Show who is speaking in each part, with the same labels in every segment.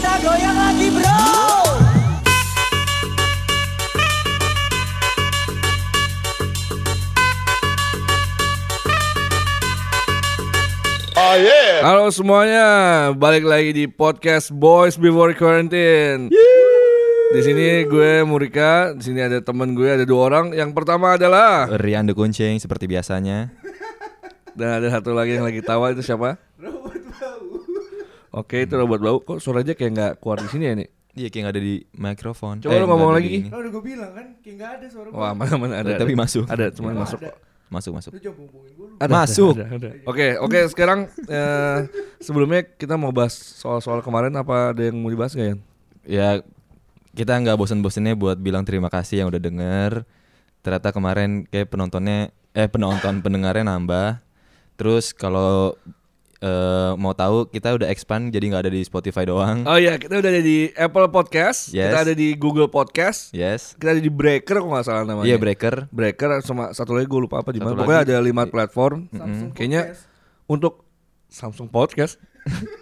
Speaker 1: goyang lagi bro
Speaker 2: Oh yeah.
Speaker 3: Halo semuanya, balik lagi di podcast Boys Before Quarantine. Di sini gue Murika, di sini ada teman gue ada dua orang. Yang pertama adalah
Speaker 4: Rian The Kuncing seperti biasanya.
Speaker 3: dan ada satu lagi yang lagi tawa itu siapa? Robot Bau. Oke, itu Robot Bau. Kok suaranya kayak nggak keluar di sini ya nih?
Speaker 4: Iya kayak nggak ada di mikrofon. Eh,
Speaker 3: Coba lu
Speaker 4: nggak
Speaker 3: ngomong
Speaker 4: ada
Speaker 3: lagi.
Speaker 4: di ini.
Speaker 5: Lo udah gue bilang kan, kayak gak ada suara
Speaker 3: Wah, mana mana ada.
Speaker 4: Tapi
Speaker 3: ada.
Speaker 4: masuk.
Speaker 3: Ada, cuman masuk kok.
Speaker 4: Masuk masuk.
Speaker 5: Lo jangan bohongin gue lu
Speaker 3: Ada,
Speaker 4: Masuk.
Speaker 3: ada, ada, ada. Oke, oke. Sekarang eh, sebelumnya kita mau bahas soal-soal kemarin. Apa ada yang mau dibahas nggak ya?
Speaker 4: Ya kita nggak bosan-bosannya buat bilang terima kasih yang udah denger. Ternyata kemarin kayak penontonnya eh penonton pendengarnya nambah. Terus kalau eh, mau tahu kita udah expand jadi nggak ada di Spotify doang.
Speaker 3: Oh iya, kita udah ada di Apple Podcast,
Speaker 4: Yes.
Speaker 3: kita ada di Google Podcast,
Speaker 4: Yes.
Speaker 3: kita ada di Breaker kalau nggak salah namanya.
Speaker 4: Iya breaker.
Speaker 3: Breaker sama satu lagi gue lupa apa di mana.
Speaker 4: Satu
Speaker 3: Pokoknya
Speaker 4: lagi.
Speaker 3: ada lima platform.
Speaker 5: Samsung
Speaker 3: Kayaknya
Speaker 5: Podcast.
Speaker 3: untuk Samsung Podcast.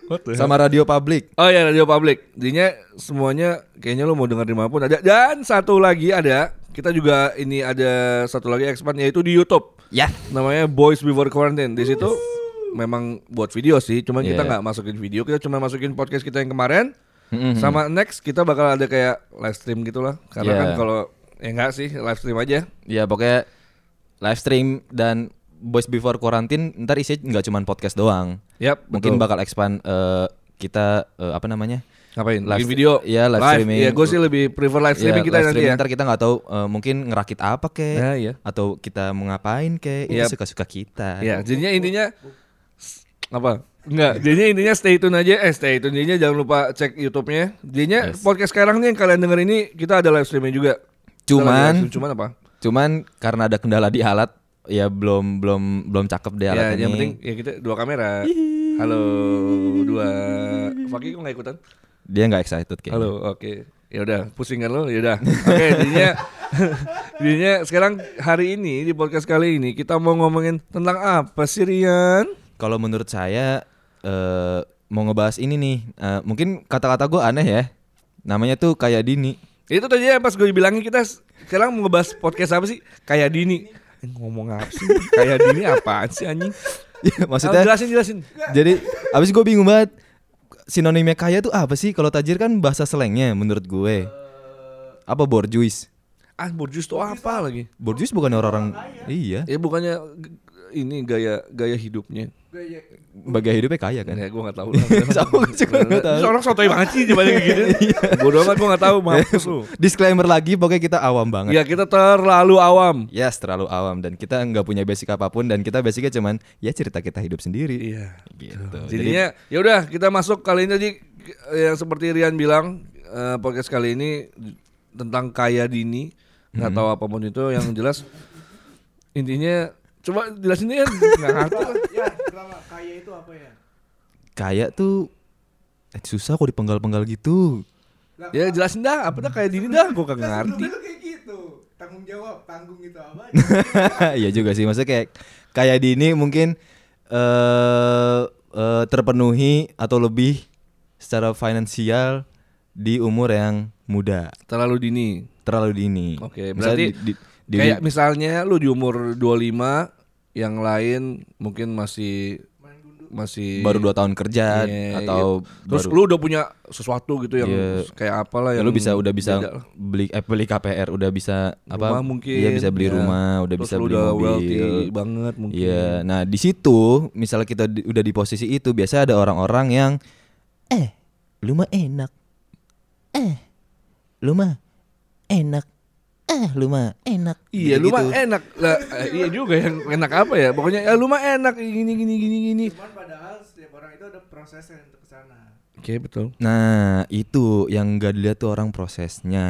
Speaker 3: What the hell?
Speaker 4: Sama radio publik.
Speaker 3: Oh iya radio publik. Jadinya semuanya kayaknya lo mau dengar dimanapun ada. Dan satu lagi ada kita juga ini ada satu lagi expand yaitu di YouTube
Speaker 4: Ya.
Speaker 3: namanya Boys Before Quarantine. Di situ memang buat video sih, cuman kita
Speaker 4: Iya.
Speaker 3: nggak masukin video, kita cuma masukin podcast kita yang kemarin.
Speaker 4: Mm-hmm.
Speaker 3: Sama next kita bakal ada kayak live stream gitulah. Karena
Speaker 4: Iya.
Speaker 3: kan kalau ya enggak sih, live stream aja.
Speaker 4: Ya pokoknya live stream dan Boys Before Quarantine ntar isinya nggak cuman podcast doang.
Speaker 3: Yap,
Speaker 4: Mungkin
Speaker 3: betul.
Speaker 4: bakal expand eh, kita eh, apa namanya?
Speaker 3: ngapain?
Speaker 4: live
Speaker 3: Bikin video.
Speaker 4: Iya, live streaming.
Speaker 3: Iya, gue sih lebih prefer live streaming
Speaker 4: Ya,
Speaker 3: kita
Speaker 4: live
Speaker 3: nanti
Speaker 4: streaming
Speaker 3: ya.
Speaker 4: Ntar kita nggak tahu eh, mungkin ngerakit apa kek
Speaker 3: Ya, iya.
Speaker 4: atau kita mau ngapain kek itu
Speaker 3: Yap.
Speaker 4: suka-suka kita.
Speaker 3: Iya, jadinya intinya s- apa? Enggak, jadinya intinya stay tune aja. Eh, stay tune jadinya jangan lupa cek YouTube-nya. Jadinya podcast sekarang nih yang kalian denger ini kita ada live streaming juga. Kita lagi live
Speaker 4: Cuman
Speaker 3: stream, cuman apa?
Speaker 4: cuman karena ada kendala di alat ya belum belum belum cakep deh
Speaker 3: Ya,
Speaker 4: alat ini.
Speaker 3: yang penting ya kita dua kamera. Halo, dua. Fakih kok nggak ikutan?
Speaker 4: dia nggak excited kayaknya.
Speaker 3: Halo, oke. Ya udah, pusing kan lo? Ya udah. Oke, jadinya jadinya sekarang hari ini di podcast kali ini kita mau ngomongin tentang apa sih Rian?
Speaker 4: Kalau menurut saya eh mau ngebahas ini nih, eh, mungkin kata-kata gue aneh ya. Namanya tuh kayak Dini.
Speaker 3: Itu tadi yang pas gue bilangin kita sekarang mau ngebahas podcast apa sih? Kayak Dini. Eh, Ngomong apa sih? Kayak Dini apaan sih anjing?
Speaker 4: Ya,
Speaker 3: Maksudnya,
Speaker 4: Maksudnya
Speaker 3: jelasin jelasin.
Speaker 4: jadi abis gue bingung banget sinonimnya kaya tuh apa sih? Kalau tajir kan bahasa slangnya menurut
Speaker 3: Eh,
Speaker 4: gue. Apa borjuis?
Speaker 3: Ah, borjus tuh apa lagi?
Speaker 4: Borjuis bukan orang-orang iya.
Speaker 3: Ya bukannya g- ini gaya gaya hidupnya.
Speaker 5: Gaya
Speaker 4: Bagai hidupnya kaya kan.
Speaker 3: Ya gue gak tau lah
Speaker 4: Sama gue juga nggak tahu.
Speaker 3: Terus orang sotoy banget sih Dia balik kayak gitu Bodo amat gue gak tau Mampus lu
Speaker 4: Disclaimer lagi pokoknya kita awam banget.
Speaker 3: Ya kita terlalu awam
Speaker 4: Yes, terlalu awam dan kita nggak punya basic apapun dan kita basicnya cuman ya cerita kita hidup sendiri.
Speaker 3: Iya
Speaker 4: Gitu. Jadi
Speaker 3: Jadinya ya udah kita masuk kali ini tadi eh, Yang seperti Rian bilang eh, Podcast kali ini Tentang kaya dini Gak tahu apapun itu Yang jelas Intinya Coba jelasin ya Gak ngerti lah.
Speaker 5: Ya pertama, kaya itu apa ya?
Speaker 4: kaya tuh eh, susah kok dipenggal-penggal gitu.
Speaker 3: Ya jelasin dah Apa dah kaya dini dah Gue kagak ngerti
Speaker 5: Kan Sebelumnya lu kayak gitu Tanggung jawab, tanggung itu apa
Speaker 4: Iya juga sih maksudnya kayak kayak Dini mungkin eh eh, terpenuhi atau lebih secara finansial di umur yang muda
Speaker 3: Terlalu dini
Speaker 4: terlalu dini.
Speaker 3: Oke, berarti
Speaker 4: Misalnya di- di- di-
Speaker 3: kayak misalnya lu di umur 25, yang lain mungkin masih masih
Speaker 4: baru dua tahun kerja
Speaker 3: Iya,
Speaker 4: atau
Speaker 3: iya. terus lu
Speaker 4: baru-
Speaker 3: udah punya sesuatu gitu yang
Speaker 4: Iya.
Speaker 3: kayak apalah
Speaker 4: ya
Speaker 3: yang
Speaker 4: lu bisa udah bisa
Speaker 3: beda lah.
Speaker 4: beli eh, beli KPR udah bisa apa
Speaker 3: Rumah mungkin,
Speaker 4: iya bisa beli
Speaker 3: ya.
Speaker 4: rumah udah
Speaker 3: Terus
Speaker 4: bisa
Speaker 3: lu
Speaker 4: beli
Speaker 3: udah
Speaker 4: mobil
Speaker 3: wealthy banget mungkin.
Speaker 4: Iya. nah di situ misalnya kita di- udah di posisi itu biasa ada orang-orang yang eh lu mah enak eh lu mah enak eh lu mah enak gitu.
Speaker 3: Iya, lu
Speaker 4: Gitu-gitu.
Speaker 3: mah enak lah. eh, iya juga yang enak apa ya? Pokoknya ya lu mah enak gini gini gini gini.
Speaker 5: Cuman padahal setiap orang itu ada prosesnya untuk kesana
Speaker 3: Oke, betul.
Speaker 4: nah itu yang gak dilihat tuh orang prosesnya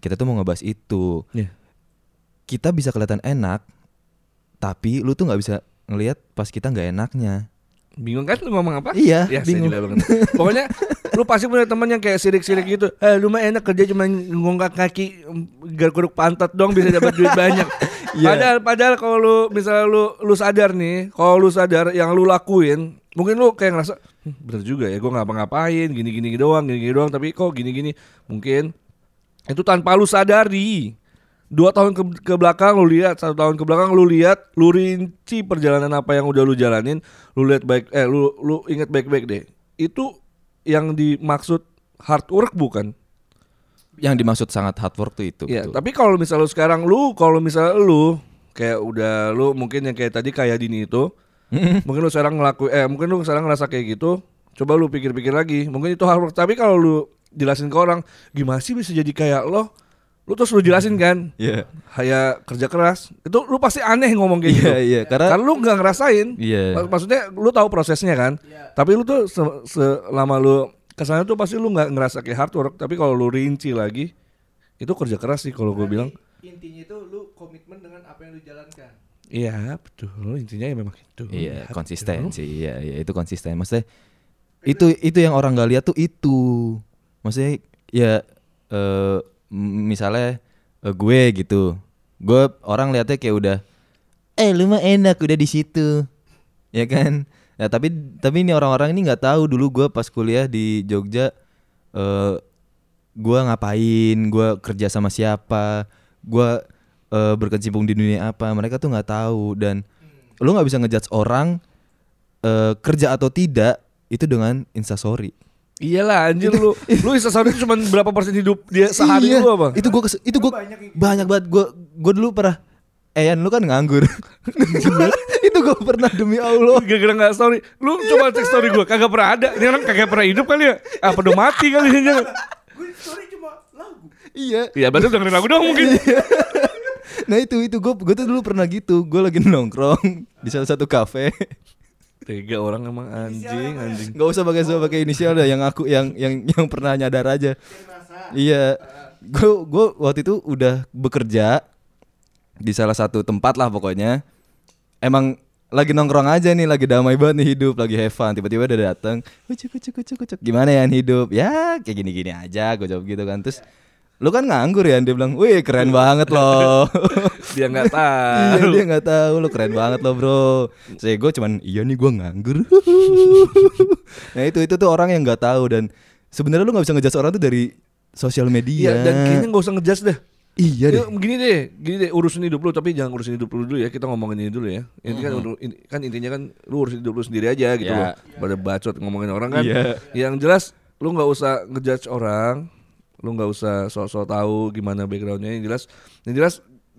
Speaker 4: kita tuh mau ngebahas itu
Speaker 3: Iya.
Speaker 4: kita bisa kelihatan enak tapi lu tuh nggak bisa ngelihat pas kita nggak enaknya
Speaker 3: Bingung kan lu ngomong apa?
Speaker 4: Iya,
Speaker 3: ya,
Speaker 4: bingung.
Speaker 3: Saya gila banget. Pokoknya lu pasti punya teman yang kayak sirik-sirik gitu. Eh, lu mah enak kerja cuma ngonggak kaki, garuk-garuk pantat doang bisa dapat duit banyak.
Speaker 4: Iya.
Speaker 3: Padahal padahal kalau lu misalnya lu lu sadar nih, kalau lu sadar yang lu lakuin, mungkin lu kayak ngerasa "Hmm, bener juga ya gue ngapa-ngapain gini-gini doang gini-gini doang tapi kok gini-gini mungkin itu tanpa lu sadari dua tahun ke, ke belakang lu lihat satu tahun ke belakang lu lihat lu rinci perjalanan apa yang udah lu jalanin lu lihat baik eh lu lu ingat baik-baik deh itu yang dimaksud hard work bukan
Speaker 4: Yang dimaksud sangat hard work tuh itu.
Speaker 3: Ya,
Speaker 4: betul.
Speaker 3: tapi kalau misalnya lu sekarang lu kalau misalnya lu kayak udah lu mungkin yang kayak tadi kayak Dini itu, mungkin lu sekarang ngelaku eh mungkin lu sekarang ngerasa kayak gitu, coba lu pikir-pikir lagi. Mungkin itu hard work, tapi kalau lu jelasin ke orang, gimana sih bisa jadi kayak lo? Lu terus lu jelasin kan?
Speaker 4: Iya.
Speaker 3: Kayak kerja keras. Itu lu pasti aneh ngomong kayak gitu.
Speaker 4: Iya, iya, karena
Speaker 3: Karena lu nggak ngerasain.
Speaker 4: Iya.
Speaker 3: Mak- Maksudnya lu tahu prosesnya kan.
Speaker 5: Iya.
Speaker 3: Tapi lu tuh se- selama lu kesana tuh pasti lu nggak ngerasa kayak hard work. Tapi kalau lu rinci lagi, itu kerja keras sih kalau gue
Speaker 5: Berarti
Speaker 3: bilang.
Speaker 5: intinya itu lu komitmen dengan apa yang lu jalankan.
Speaker 3: Iya betul. Intinya ya memang itu. Ya,
Speaker 4: Iya, konsisten
Speaker 3: betul.
Speaker 4: sih. Iya, iya, itu konsisten. Maksudnya itu itu yang orang nggak lihat tuh itu. Maksudnya ya eh, m- misalnya eh, gue gitu. Gue orang lihatnya kayak udah eh lu mah enak udah di situ. Ya kan? Nah, tapi tapi ini orang-orang ini nggak tahu dulu gue pas kuliah di Jogja eh gue ngapain, gue kerja sama siapa, gue eh, berkecimpung di dunia apa, mereka tuh nggak tahu dan lu nggak bisa ngejudge orang eh, kerja atau tidak itu dengan instastory.
Speaker 3: Iyalah anjir lu. lu instastory cuma berapa persen hidup dia Ya, sehari
Speaker 4: Iya,
Speaker 3: lu apa?
Speaker 4: Itu gue itu
Speaker 5: Lu
Speaker 4: gue
Speaker 5: banyak yang gitu.
Speaker 4: banyak banget gue gue dulu pernah eh Yan, lu kan nganggur. itu gue pernah demi Allah.
Speaker 3: Gara-gara gak story Lu
Speaker 4: Iya.
Speaker 3: coba cek story gue Kagak pernah ada Ini orang kagak pernah hidup kali ya Apa udah mati kali ya
Speaker 5: Gue story cuma lagu.
Speaker 4: Iya.
Speaker 3: Iya berarti dengerin lagu dong mungkin
Speaker 4: Nah itu itu gue gue tuh dulu pernah gitu. Gue lagi nongkrong di salah satu kafe.
Speaker 3: Tiga orang emang anjing anjing.
Speaker 4: Gak usah pakai usah pakai inisial dah yang aku yang yang yang pernah nyadar aja.
Speaker 5: Yang rasa.
Speaker 4: Iya. Gue gue waktu itu udah bekerja di salah satu tempat lah pokoknya. Emang lagi nongkrong aja nih, lagi damai banget nih hidup, lagi have fun. Tiba-tiba udah dateng, ucuk ucuk ucuk ucuk. Gimana ya hidup? Ya kayak gini-gini aja. Gue jawab gitu kan. Terus lu kan nganggur ya? Dia bilang, wih keren banget loh.
Speaker 3: Dia nggak tahu.
Speaker 4: Iya dia nggak tahu lo keren banget lo bro. Saya gue cuman iya nih gue nganggur. nah itu itu tuh orang yang nggak tahu dan sebenarnya lu nggak bisa ngejudge orang tuh dari sosial
Speaker 3: Iya
Speaker 4: media.
Speaker 3: dan kayaknya nggak usah ngejudge deh.
Speaker 4: iya
Speaker 3: Ya,
Speaker 4: deh.
Speaker 3: gini deh, gini deh urusin hidup lu tapi jangan urusin hidup lu dulu ya. Kita ngomongin ini dulu ya. Ini kan uru- ini- kan intinya kan lu urusin hidup lu sendiri aja gitu
Speaker 4: Hmm. Iya.
Speaker 3: loh. Pada bacot ngomongin orang kan.
Speaker 4: Iya.
Speaker 3: Yang jelas lu nggak usah ngejudge orang. Lu nggak usah sok-sok tahu gimana backgroundnya yang jelas. Yang jelas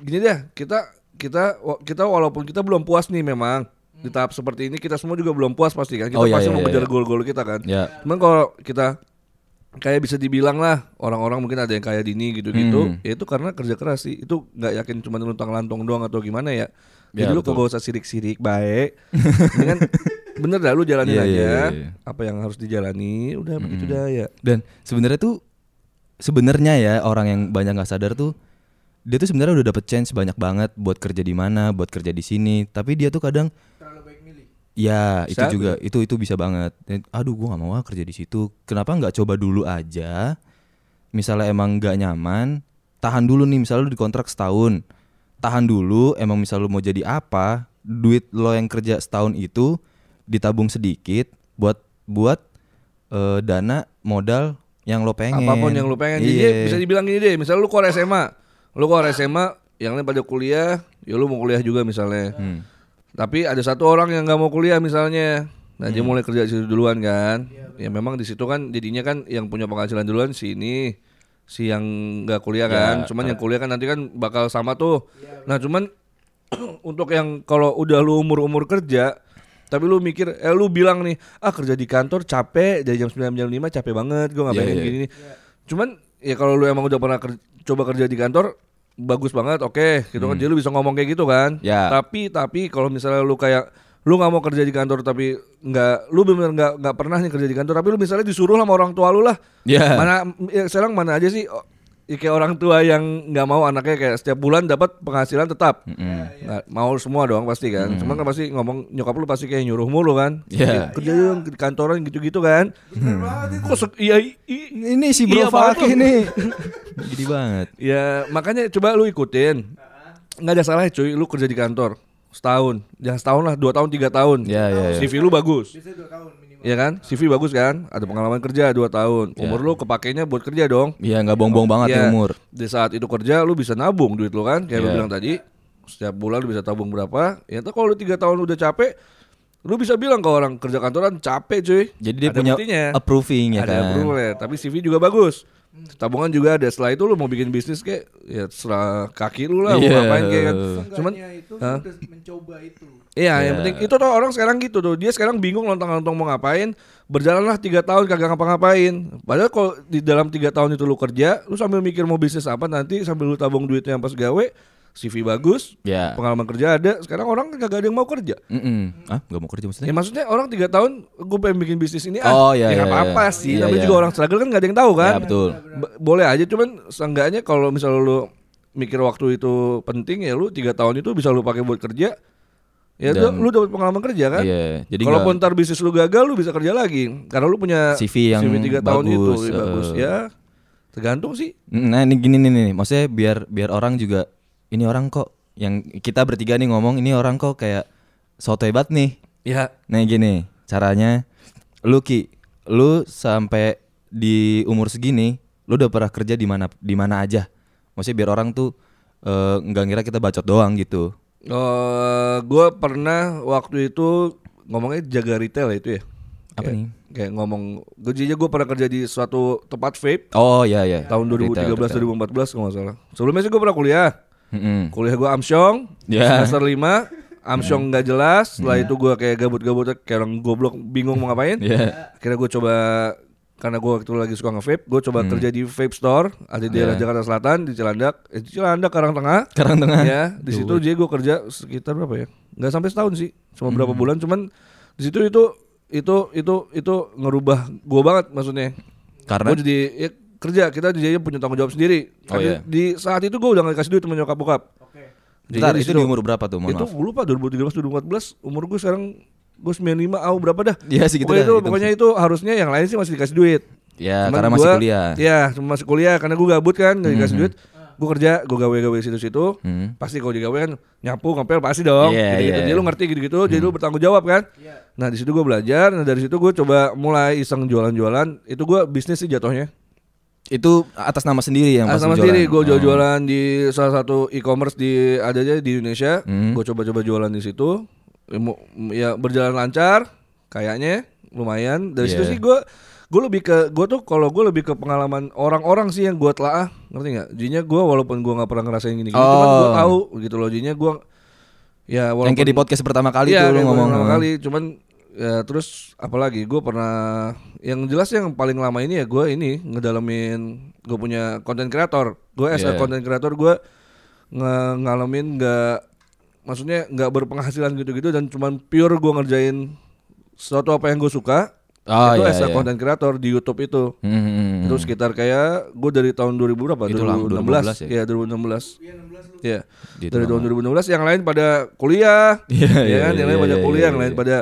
Speaker 3: gini deh, kita kita wa- kita walaupun kita belum puas nih memang di tahap seperti ini kita semua juga belum puas pasti kan. Kita
Speaker 4: Oh, iya,
Speaker 3: pasti
Speaker 4: iya,
Speaker 3: mau
Speaker 4: iya,
Speaker 3: ngejar
Speaker 4: iya.
Speaker 3: gol-gol kita kan.
Speaker 4: Ya.
Speaker 3: Cuman kalau kita kayak bisa dibilang lah orang-orang mungkin ada yang kayak dini gitu-gitu,
Speaker 4: Hmm.
Speaker 3: ya itu karena kerja keras sih. Itu nggak yakin cuma nuntang lantong doang atau gimana ya. Jadi
Speaker 4: Ya,
Speaker 3: lu
Speaker 4: betul.
Speaker 3: kagak usah sirik-sirik baik. Dengan bener dah lu jalanin
Speaker 4: Iya,
Speaker 3: aja
Speaker 4: iya, iya, Hmm. iya.
Speaker 3: apa yang harus dijalani, udah begitu dah ya.
Speaker 4: Dan sebenarnya tuh sebenarnya ya orang yang banyak nggak sadar tuh dia tuh sebenarnya udah dapet chance banyak banget buat kerja di mana, buat kerja di sini. Tapi dia tuh kadang
Speaker 5: Terlalu baik milih.
Speaker 4: Ya itu
Speaker 3: Bisa.
Speaker 4: juga itu itu bisa banget. Dan, Aduh gua nggak mau ah kerja di situ. Kenapa nggak coba dulu aja? Misalnya emang nggak nyaman, tahan dulu nih. Misalnya lu dikontrak setahun, tahan dulu. Emang misal lu mau jadi apa? Duit lo yang kerja setahun itu ditabung sedikit buat buat eh, dana modal yang lo pengen.
Speaker 3: Apapun yang lu pengen. Jadi
Speaker 4: Iya.
Speaker 3: bisa dibilang gini deh, misalnya lu keluar SMA, lu keluar SMA, yang lain pada kuliah, ya lu mau kuliah juga misalnya.
Speaker 4: Hmm.
Speaker 3: Tapi ada satu orang yang nggak mau kuliah misalnya, nah
Speaker 4: Hmm.
Speaker 3: dia mulai kerja di situ duluan kan. Ya memang di situ kan jadinya kan yang punya penghasilan duluan si ini, si yang nggak kuliah
Speaker 4: Iya,
Speaker 3: kan. Cuman yang kuliah kan nanti kan bakal sama tuh. Nah cuman untuk yang kalau udah lu umur umur kerja tapi lu mikir eh lu bilang nih ah kerja di kantor capek dari jam 9 jam 5 capek banget gua nggak
Speaker 4: Iya,
Speaker 3: pengen
Speaker 4: iya.
Speaker 3: gini nih cuman ya kalau lu emang udah pernah ker- coba kerja di kantor bagus banget oke gitu kan jadi lu bisa ngomong kayak gitu kan
Speaker 4: Hmm. Ya.
Speaker 3: tapi tapi kalau misalnya lu kayak lu nggak mau kerja di kantor tapi nggak lu bener nggak nggak pernah nih kerja di kantor tapi lu misalnya disuruh lah sama orang tua lu lah
Speaker 4: Ya.
Speaker 3: mana ya sekarang mana aja sih oh, ya kayak orang tua yang nggak mau anaknya kayak setiap bulan dapat penghasilan tetap Nggak, mau semua doang pasti kan cuman kan pasti ngomong nyokap lu pasti kayak nyuruh mulu kan Kayak,
Speaker 4: Iya.
Speaker 3: kerja dong di kantoran gitu-gitu kan
Speaker 5: Bener banget itu.
Speaker 3: kok se- iya i- i-
Speaker 4: Ini si
Speaker 3: Iya,
Speaker 4: Bro
Speaker 3: banget
Speaker 4: Fakih
Speaker 3: lo.
Speaker 4: nih. Gede banget.
Speaker 3: Ya makanya coba lu ikutin nggak ada salahnya cuy lu kerja di kantor setahun jangan setahun lah dua tahun tiga tahun
Speaker 4: Ya, ya, ya.
Speaker 3: CV lu bagus
Speaker 5: Biasanya dua tahun minimal.
Speaker 3: Iya kan? CV bagus kan? Ada pengalaman kerja 2 tahun. Umur lu kepakainya buat kerja dong.
Speaker 4: Iya nggak bohong-bohong Ya. banget
Speaker 3: Iya.
Speaker 4: nih umur.
Speaker 3: Di saat itu kerja lu bisa nabung duit lu kan kayak lu
Speaker 4: Iya.
Speaker 3: bilang tadi setiap bulan lu bisa tabung berapa. Ya tuh kalau lu 3 tahun udah capek lu bisa bilang ke orang kerja kantoran capek cuy.
Speaker 4: Jadi dia
Speaker 3: Ada
Speaker 4: punya
Speaker 3: buktinya.
Speaker 4: approving ya
Speaker 3: ada
Speaker 4: kan.
Speaker 3: approval-nya. tapi CV juga bagus. Tabungan juga ada. Setelah itu lu mau bikin bisnis kayak ya serah kaki lu lah mau
Speaker 4: Iya.
Speaker 3: ngapain kayak kan. Cuman
Speaker 5: Cuman itu
Speaker 3: Hah?
Speaker 5: udah mencoba itu.
Speaker 3: Iya, yang penting itu tuh orang sekarang gitu tuh. Dia sekarang bingung lontang-lontang mau ngapain. Berjalanlah tiga tahun kagak ngapa-ngapain. Padahal kalau di dalam tiga tahun itu lu kerja, lu sambil mikir mau bisnis apa nanti sambil lu tabung duitnya pas gawe, CV bagus,
Speaker 4: Ya.
Speaker 3: pengalaman kerja ada. Sekarang orang kagak ada yang mau kerja.
Speaker 4: Mm-mm. Ah nggak mau kerja
Speaker 3: Ya
Speaker 4: maksudnya?
Speaker 3: maksudnya orang tiga tahun gue pengen bikin bisnis ini ah.
Speaker 4: Oh, iya,
Speaker 3: ya
Speaker 4: iya,
Speaker 3: nggak apa-apa
Speaker 4: iya.
Speaker 3: sih.
Speaker 4: Iya,
Speaker 3: Namanya
Speaker 4: iya.
Speaker 3: juga orang struggle kan nggak ada yang tahu kan.
Speaker 4: Ya betul.
Speaker 3: Ba- boleh aja cuman seenggaknya kalau misalnya lu mikir waktu itu penting ya lu tiga tahun itu bisa lu pakai buat kerja ya
Speaker 4: Dan-
Speaker 3: lu, lu dapat pengalaman kerja kan
Speaker 4: Iya. Jadi
Speaker 3: kalaupun
Speaker 4: nggak
Speaker 3: ntar bisnis lu gagal lu bisa kerja lagi karena lu punya
Speaker 4: CV yang
Speaker 3: tiga tahun itu
Speaker 4: bagus,
Speaker 3: lebih bagus
Speaker 4: eh.
Speaker 3: ya tergantung sih
Speaker 4: Mm, Nah ini gini nih, nih, maksudnya biar biar orang juga ini orang kok yang kita bertiga nih ngomong ini orang kok kayak soto hebat nih.
Speaker 3: ya
Speaker 4: Nah gini caranya lu ki lu sampai di umur segini lu udah pernah kerja di mana di mana aja. Maksudnya biar orang tuh eh, nggak ngira kita bacot doang gitu.
Speaker 3: eh gue pernah waktu itu ngomongnya jaga retail ya itu ya
Speaker 4: Apa nih?
Speaker 3: kayak ngomong gue jadi gue pernah kerja di suatu tempat vape
Speaker 4: Oh ya ya.
Speaker 3: tahun 2013 2014 kalau nggak salah sebelumnya sih gue pernah kuliah
Speaker 4: Mm-mm.
Speaker 3: Kuliah gua Amsyong
Speaker 4: Hmm. Ya.
Speaker 3: Semester 5 Amsyong nggak jelas Setelah itu gua kayak gabut-gabut Kayak orang goblok bingung mau ngapain
Speaker 4: Ya.
Speaker 3: Akhirnya gue coba Karena gua waktu itu lagi suka nge-vape Gue coba
Speaker 4: Hmm.
Speaker 3: kerja di vape store Ada di daerah Jakarta Selatan Di Cilandak eh, di Cilandak Karangtengah
Speaker 4: Ya. Karang Tengah.
Speaker 3: Ya di situ jadi gue kerja sekitar berapa ya nggak sampai setahun sih Cuma berapa
Speaker 4: Hmm.
Speaker 3: bulan Cuman di situ itu Itu itu itu ngerubah gua banget maksudnya
Speaker 4: Karena
Speaker 3: Gue jadi ya, kerja kita jadi punya tanggung jawab sendiri.
Speaker 4: Oh,
Speaker 3: Karena
Speaker 4: iya.
Speaker 3: Di saat itu gue udah nggak kasih duit sama nyokap bokap.
Speaker 5: Oke.
Speaker 3: Jadi
Speaker 4: Bentar,
Speaker 3: di
Speaker 4: itu
Speaker 3: situ-
Speaker 4: di umur berapa tuh? Mohon
Speaker 3: itu
Speaker 4: maaf.
Speaker 3: gue lupa 2013 2014 umur gue sekarang gue 95 au berapa dah.
Speaker 4: Iya, segitu
Speaker 3: pokoknya
Speaker 4: dah,
Speaker 3: itu
Speaker 4: hitung
Speaker 3: pokoknya itu harusnya yang lain sih masih dikasih duit.
Speaker 4: Ya,
Speaker 3: Cuman
Speaker 4: karena masih
Speaker 3: gua-
Speaker 4: kuliah. Mhm.
Speaker 3: Iya, cuma masih kuliah karena gue gabut kan nggak dikasih duit. Gue kerja, gue gawe-gawe situ-situ.
Speaker 4: Hmm.
Speaker 3: Pasti kalau digawe kan nyapu, ngepel pasti dong.
Speaker 4: Iya,
Speaker 3: gitu-gitu.
Speaker 4: iya. Mhm.
Speaker 3: Jadi lu ngerti gitu-gitu, jadi lu bertanggung jawab kan.
Speaker 5: Iya.
Speaker 3: Nah, di situ gue belajar, nah dari situ gue coba mulai iseng jualan-jualan. Itu gue bisnis sih jatuhnya.
Speaker 4: Itu atas nama sendiri yang
Speaker 3: Ah,
Speaker 4: pas
Speaker 3: sama
Speaker 4: lu
Speaker 3: sendiri
Speaker 4: jualan?
Speaker 3: gue
Speaker 4: Oh.
Speaker 3: jual-jualan di salah satu e-commerce di ada aja di Indonesia.
Speaker 4: Hmm.
Speaker 3: Gue coba-coba jualan di situ. Ya, mu- Ya berjalan lancar kayaknya lumayan. Dari situ
Speaker 4: Iya.
Speaker 3: sih gue gue lebih ke gue tuh kalau gue lebih ke pengalaman orang-orang sih yang gue telaah ngerti nggak? Jadinya gue walaupun gue nggak pernah ngerasain gini, -gini cuman gue
Speaker 4: Oh.
Speaker 3: tahu gitu loh. Jadinya gue ya
Speaker 4: Yang
Speaker 3: walaupun
Speaker 4: kayak di podcast pertama kali
Speaker 3: Iya,
Speaker 4: tuh lu
Speaker 3: kayak
Speaker 4: ngomong.
Speaker 3: pertama
Speaker 4: oh.
Speaker 3: kali cuman ya terus apalagi gue pernah yang jelas yang paling lama ini ya gue ini ngedalamin gue punya konten kreator gue as a
Speaker 4: Iya.
Speaker 3: konten kreator gue nge- ngalamin nggak maksudnya nggak berpenghasilan gitu-gitu dan cuman pure gue ngerjain sesuatu apa yang gue suka
Speaker 4: Oh,
Speaker 3: itu
Speaker 4: iya,
Speaker 3: as a
Speaker 4: iya.
Speaker 3: konten kreator di YouTube itu
Speaker 4: Hmm, hmm, hmm.
Speaker 3: itu sekitar kayak gue dari tahun 2000 berapa
Speaker 4: Itu lama, 2016
Speaker 3: ya
Speaker 5: Iya
Speaker 3: 2016
Speaker 5: 16 lu.
Speaker 3: Iya.
Speaker 4: Gitu
Speaker 3: Dari tahun 2016 yang lain pada kuliah.
Speaker 4: Iya,
Speaker 3: ya
Speaker 4: iya,
Speaker 3: kan? yang lain
Speaker 4: iya,
Speaker 3: pada
Speaker 4: iya,
Speaker 3: kuliah,
Speaker 4: iya,
Speaker 3: yang lain
Speaker 4: iya. Hmm.
Speaker 3: pada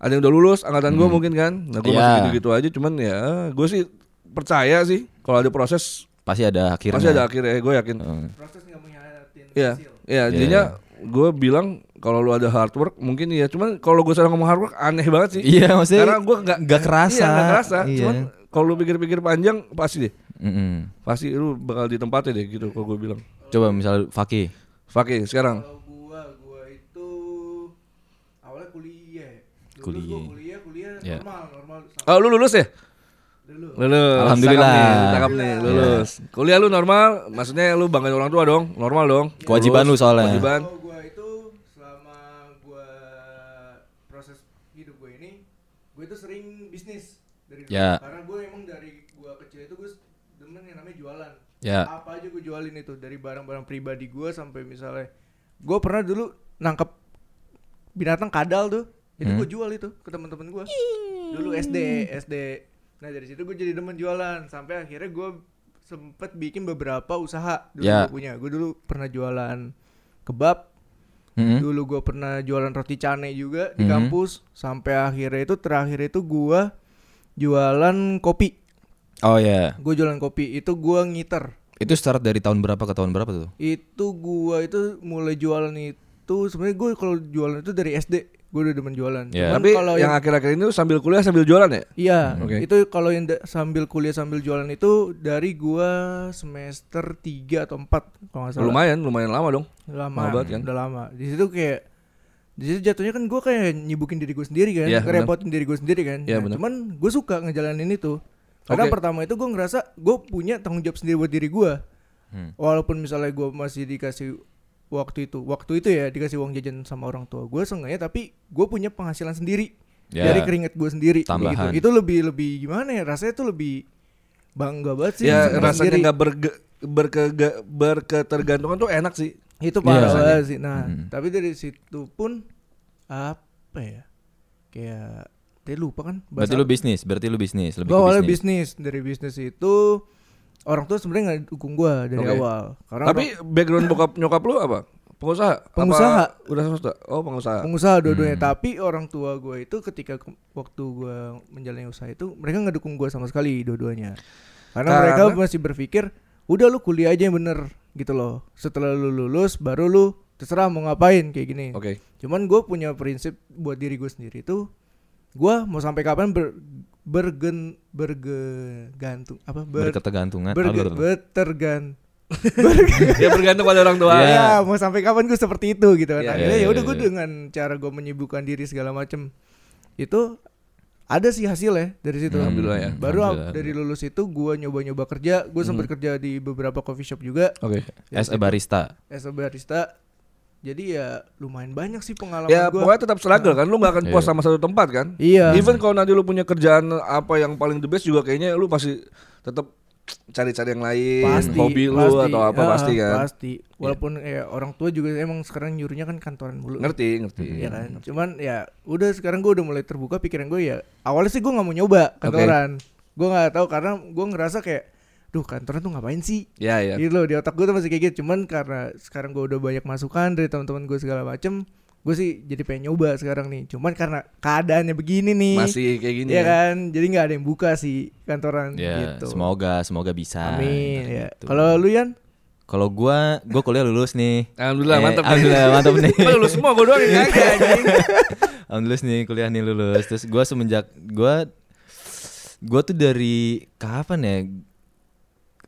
Speaker 3: ada yang udah lulus angkatan gue mungkin kan. Nah, gue masih
Speaker 4: Iya.
Speaker 3: gitu-gitu aja cuman ya gue sih percaya sih kalau ada proses
Speaker 4: Pasti ada akhirnya.
Speaker 3: pasti ada akhirnya gue yakin.
Speaker 4: Hmm.
Speaker 5: Proses nggak mengkhianatin
Speaker 3: Iya.
Speaker 5: hasil.
Speaker 3: Iya, jadinya gue bilang kalau lu ada hard work mungkin ya cuman kalau gue sekarang ngomong hard work aneh banget sih.
Speaker 4: Iya, maksudnya
Speaker 3: Karena gue nggak
Speaker 4: nggak kerasa.
Speaker 3: Iya, nggak kerasa.
Speaker 4: Iya.
Speaker 3: Cuman kalau lu pikir-pikir panjang pasti deh.
Speaker 4: Hmm, hmm.
Speaker 3: Pasti lu bakal ditempatin deh gitu kalau gue bilang.
Speaker 4: Coba misal Fakih.
Speaker 3: Fakih sekarang.
Speaker 5: Kalau gua, gua itu awalnya kuliah. ya. Dulu
Speaker 4: Kuliah.
Speaker 5: gua kuliah, kuliah
Speaker 4: Iya.
Speaker 5: normal, normal sama
Speaker 3: Oh, lu lulus ya?
Speaker 5: dulu.
Speaker 3: Lulus.
Speaker 4: Alhamdulillah.
Speaker 3: Cakep nih, cakep nih, Iya. lulus. Kuliah lu normal, maksudnya lu banggain orang tua dong, normal dong.
Speaker 4: Kewajiban lu
Speaker 3: Lulus,
Speaker 4: soalnya.
Speaker 3: Kewajiban.
Speaker 5: Kalau gua itu selama gua proses hidup gua ini, gua itu sering bisnis dari dulu.
Speaker 4: Ya.
Speaker 5: Karena gua emang dari gua kecil itu gua demen yang namanya jualan.
Speaker 4: Ya.
Speaker 5: Apa aja gua jualin itu dari barang-barang pribadi gua sampai misalnya gua pernah dulu nangkep binatang kadal tuh. Itu
Speaker 4: Hmm.
Speaker 5: gua jual itu ke teman-teman gua. Dulu SD, SD. Nah, dari situ gua jadi demen jualan sampai akhirnya gua sempet bikin beberapa usaha dulu
Speaker 4: Ya.
Speaker 5: gua punya. Gua dulu pernah jualan kebab
Speaker 4: Hmm.
Speaker 5: Dulu gue pernah jualan roti cane juga di
Speaker 4: Mhm.
Speaker 5: kampus Sampai akhirnya itu terakhir itu gue jualan kopi
Speaker 4: Oh ya.
Speaker 5: Gue jualan kopi itu gue ngiter
Speaker 4: Itu start dari tahun berapa ke tahun berapa tuh?
Speaker 5: Itu gue itu mulai jualan itu sebenarnya gue kalau jualan itu dari SD Gue udah demen jualan.
Speaker 4: Iya.
Speaker 5: Cuman
Speaker 3: Tapi
Speaker 5: kalau
Speaker 3: yang akhir-akhir ini lu sambil kuliah sambil jualan ya?
Speaker 5: Iya,
Speaker 3: Hmm, oke.
Speaker 5: itu kalau yang da- sambil kuliah sambil jualan itu dari gua semester 3 atau 4 kalau nggak salah.
Speaker 3: Lumayan, lumayan lama dong.
Speaker 5: Lama,
Speaker 3: mahal banget kan?
Speaker 5: udah lama. Di situ kayak di situ jatuhnya kan gua kayak nyibukin diri gue sendiri kan,
Speaker 3: Iya,
Speaker 5: ngerepotin diri gue sendiri kan.
Speaker 3: Iya, benar.
Speaker 5: cuman gue suka ngejalanin itu. Karena
Speaker 3: Oke.
Speaker 5: pertama itu gue ngerasa gue punya tanggung jawab sendiri buat diri gua.
Speaker 4: Hmm.
Speaker 5: Walaupun misalnya gua masih dikasih waktu itu, waktu itu ya dikasih uang jajan sama orang tua gue seenggaknya tapi gue punya penghasilan sendiri
Speaker 4: Ya.
Speaker 5: dari keringet gue sendiri gitu.
Speaker 4: Tambahan.
Speaker 5: Itu lebih lebih gimana ya rasanya tuh lebih bangga banget sih.
Speaker 3: ya
Speaker 5: sama
Speaker 3: rasanya
Speaker 5: sendiri.
Speaker 3: nggak berge, berkega- berketergantungan tuh enak sih.
Speaker 5: itu parah
Speaker 4: Iya.
Speaker 5: banget sih. Nah,
Speaker 4: Mm.
Speaker 5: tapi dari situ pun apa ya? Kayak tadi lupa kan
Speaker 4: Berarti lu bisnis, berarti lu bisnis, lebih
Speaker 5: Gue
Speaker 4: ke
Speaker 5: awalnya
Speaker 4: bisnis.
Speaker 5: bisnis. dari bisnis itu orang tua sebenarnya nggak dukung gua dari
Speaker 3: Oke.
Speaker 5: awal karena
Speaker 3: Tapi background bokap nyokap lu apa? Pengusaha? Apa
Speaker 5: Pengusaha.
Speaker 3: udah swasta? Oh, pengusaha.
Speaker 5: pengusaha
Speaker 4: eh,
Speaker 5: dua-duanya
Speaker 4: mm.
Speaker 5: tapi orang tua gue itu ketika ke- waktu gue menjalani usaha itu mereka nggak dukung gue sama sekali dua-duanya karena,
Speaker 3: Karena-
Speaker 5: mereka masih berpikir udah lu kuliah aja yang bener gitu loh setelah lu lulus baru lu terserah mau ngapain kayak gini
Speaker 3: Oke.
Speaker 5: cuman gue punya prinsip buat diri gue sendiri itu gue mau sampai kapan ber, bergen bergegantung apa ber,
Speaker 4: Berketergantungan.
Speaker 5: berge,
Speaker 4: Aduh,
Speaker 5: bertergan
Speaker 3: ya bergantung pada orang tua.
Speaker 4: Iya.
Speaker 5: ya mau sampai kapan gue seperti itu gitu kan
Speaker 3: Iya,
Speaker 5: akhirnya
Speaker 4: iya,
Speaker 5: ya udah
Speaker 4: iya,
Speaker 5: gue
Speaker 4: iya.
Speaker 5: dengan cara gue menyibukkan diri segala macem itu ada sih hasilnya dari situ
Speaker 4: Hmm,
Speaker 3: Alhamdulillah ya.
Speaker 5: baru ab-
Speaker 4: alhamdulillah. Hmm.
Speaker 5: dari lulus itu gue nyoba-nyoba kerja gue sempat kerja di beberapa coffee shop juga
Speaker 3: Oke.
Speaker 4: As
Speaker 3: gitu.
Speaker 4: a E barista.
Speaker 5: as a barista jadi ya lumayan banyak sih pengalaman
Speaker 3: Ya
Speaker 5: gue
Speaker 3: pokoknya tetap struggle kan, lu nggak akan puas sama satu tempat kan?
Speaker 5: iya
Speaker 3: Even kalau nanti lu punya kerjaan apa yang paling the best juga kayaknya lu pasti tetap cari-cari yang lain, hobi lu
Speaker 5: pasti.
Speaker 3: atau apa
Speaker 5: Ah,
Speaker 3: pasti kan.
Speaker 5: pasti walaupun ya orang tua juga emang sekarang nyuruhnya kan kantoran mulu
Speaker 3: Ngerti, ngerti.
Speaker 5: Iya kan. Cuman ya udah sekarang gue udah mulai terbuka pikiran gue ya. Awalnya sih gue nggak mau nyoba kantoran. Gue nggak tahu karena gue ngerasa kayak, duh kantoran tuh ngapain sih?
Speaker 3: Iya, iya.
Speaker 5: Gitu loh di otak gue tuh masih kayak gitu. Cuman karena sekarang gue udah banyak masukan dari teman-teman gue segala macem, gue sih jadi pengen nyoba sekarang nih. Cuman karena keadaannya begini nih.
Speaker 3: Masih kayak gini.
Speaker 5: Iya
Speaker 3: ya. Iya,
Speaker 5: kan. Jadi nggak ada yang buka sih kantoran
Speaker 4: Ya,
Speaker 5: gitu.
Speaker 4: semoga semoga bisa.
Speaker 5: Amin ya.
Speaker 4: Gitu.
Speaker 5: Kalau lu Yan?
Speaker 4: Kalau gua, gua kuliah lulus nih.
Speaker 3: Alhamdulillah
Speaker 4: Eh,
Speaker 3: mantap.
Speaker 4: Alhamdulillah mantap nih.
Speaker 3: Lu lulus semua gue doang yang
Speaker 5: Iya.
Speaker 3: kagak anjing.
Speaker 4: Alhamdulillah nih kuliah nih lulus. Terus gua semenjak gua gua tuh dari kapan ya?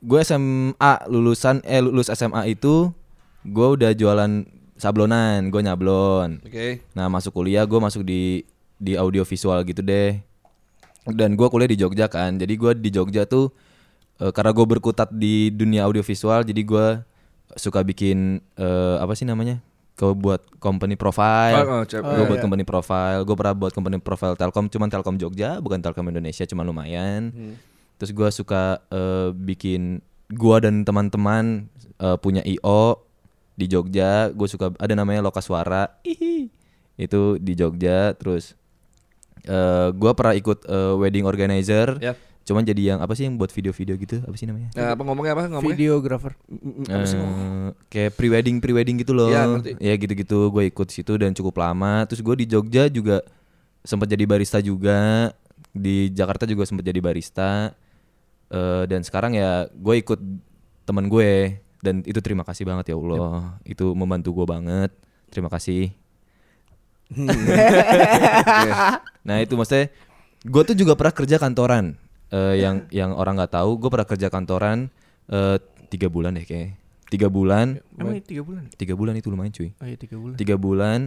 Speaker 4: Gue SMA lulusan eh lulus SMA itu gua udah jualan sablonan, gua nyablon.
Speaker 3: Oke.
Speaker 4: Nah masuk kuliah gue masuk di di audio visual gitu deh. Dan gue kuliah di Jogja kan, jadi gue di Jogja tuh eh, karena gue berkutat di dunia audio visual, jadi gue suka bikin eh, apa sih namanya? Gue buat company
Speaker 3: Oh, oh,
Speaker 4: profile.
Speaker 3: cep-
Speaker 4: gue buat company profile. Gue pernah buat company profile Telkom, cuman Telkom Jogja, bukan Telkom Indonesia, cuman lumayan. Terus gue suka eh, bikin gue dan teman-teman eh, punya IO di Jogja. Gue suka ada namanya Loka Suara. Ihi. Itu di Jogja. Terus eh gue pernah ikut eh, wedding organizer.
Speaker 3: Ya.
Speaker 4: Cuman jadi yang apa sih yang buat video-video gitu? Apa sih namanya?
Speaker 3: Nah, apa ngomongnya apa? Ngomongnya?
Speaker 5: Videographer.
Speaker 3: Mm,
Speaker 4: Eh, kayak pre-wedding pre-wedding gitu loh.
Speaker 3: Iya, ngerti.
Speaker 4: Ya gitu-gitu gue ikut situ dan cukup lama. Terus gue di Jogja juga sempat jadi barista juga. Di Jakarta juga sempat jadi barista. Eh, dan sekarang ya gue ikut temen gue dan itu terima kasih banget ya Allah. Itu membantu gue banget. Terima kasih. Nah itu maksudnya gue tuh juga pernah kerja kantoran Eh, yang yang orang nggak tahu gue pernah kerja kantoran eh, tiga bulan deh kayak tiga bulan
Speaker 5: Emang iya, tiga bulan?
Speaker 4: tiga bulan itu lumayan cuy
Speaker 5: Oh iya tiga bulan.
Speaker 4: tiga bulan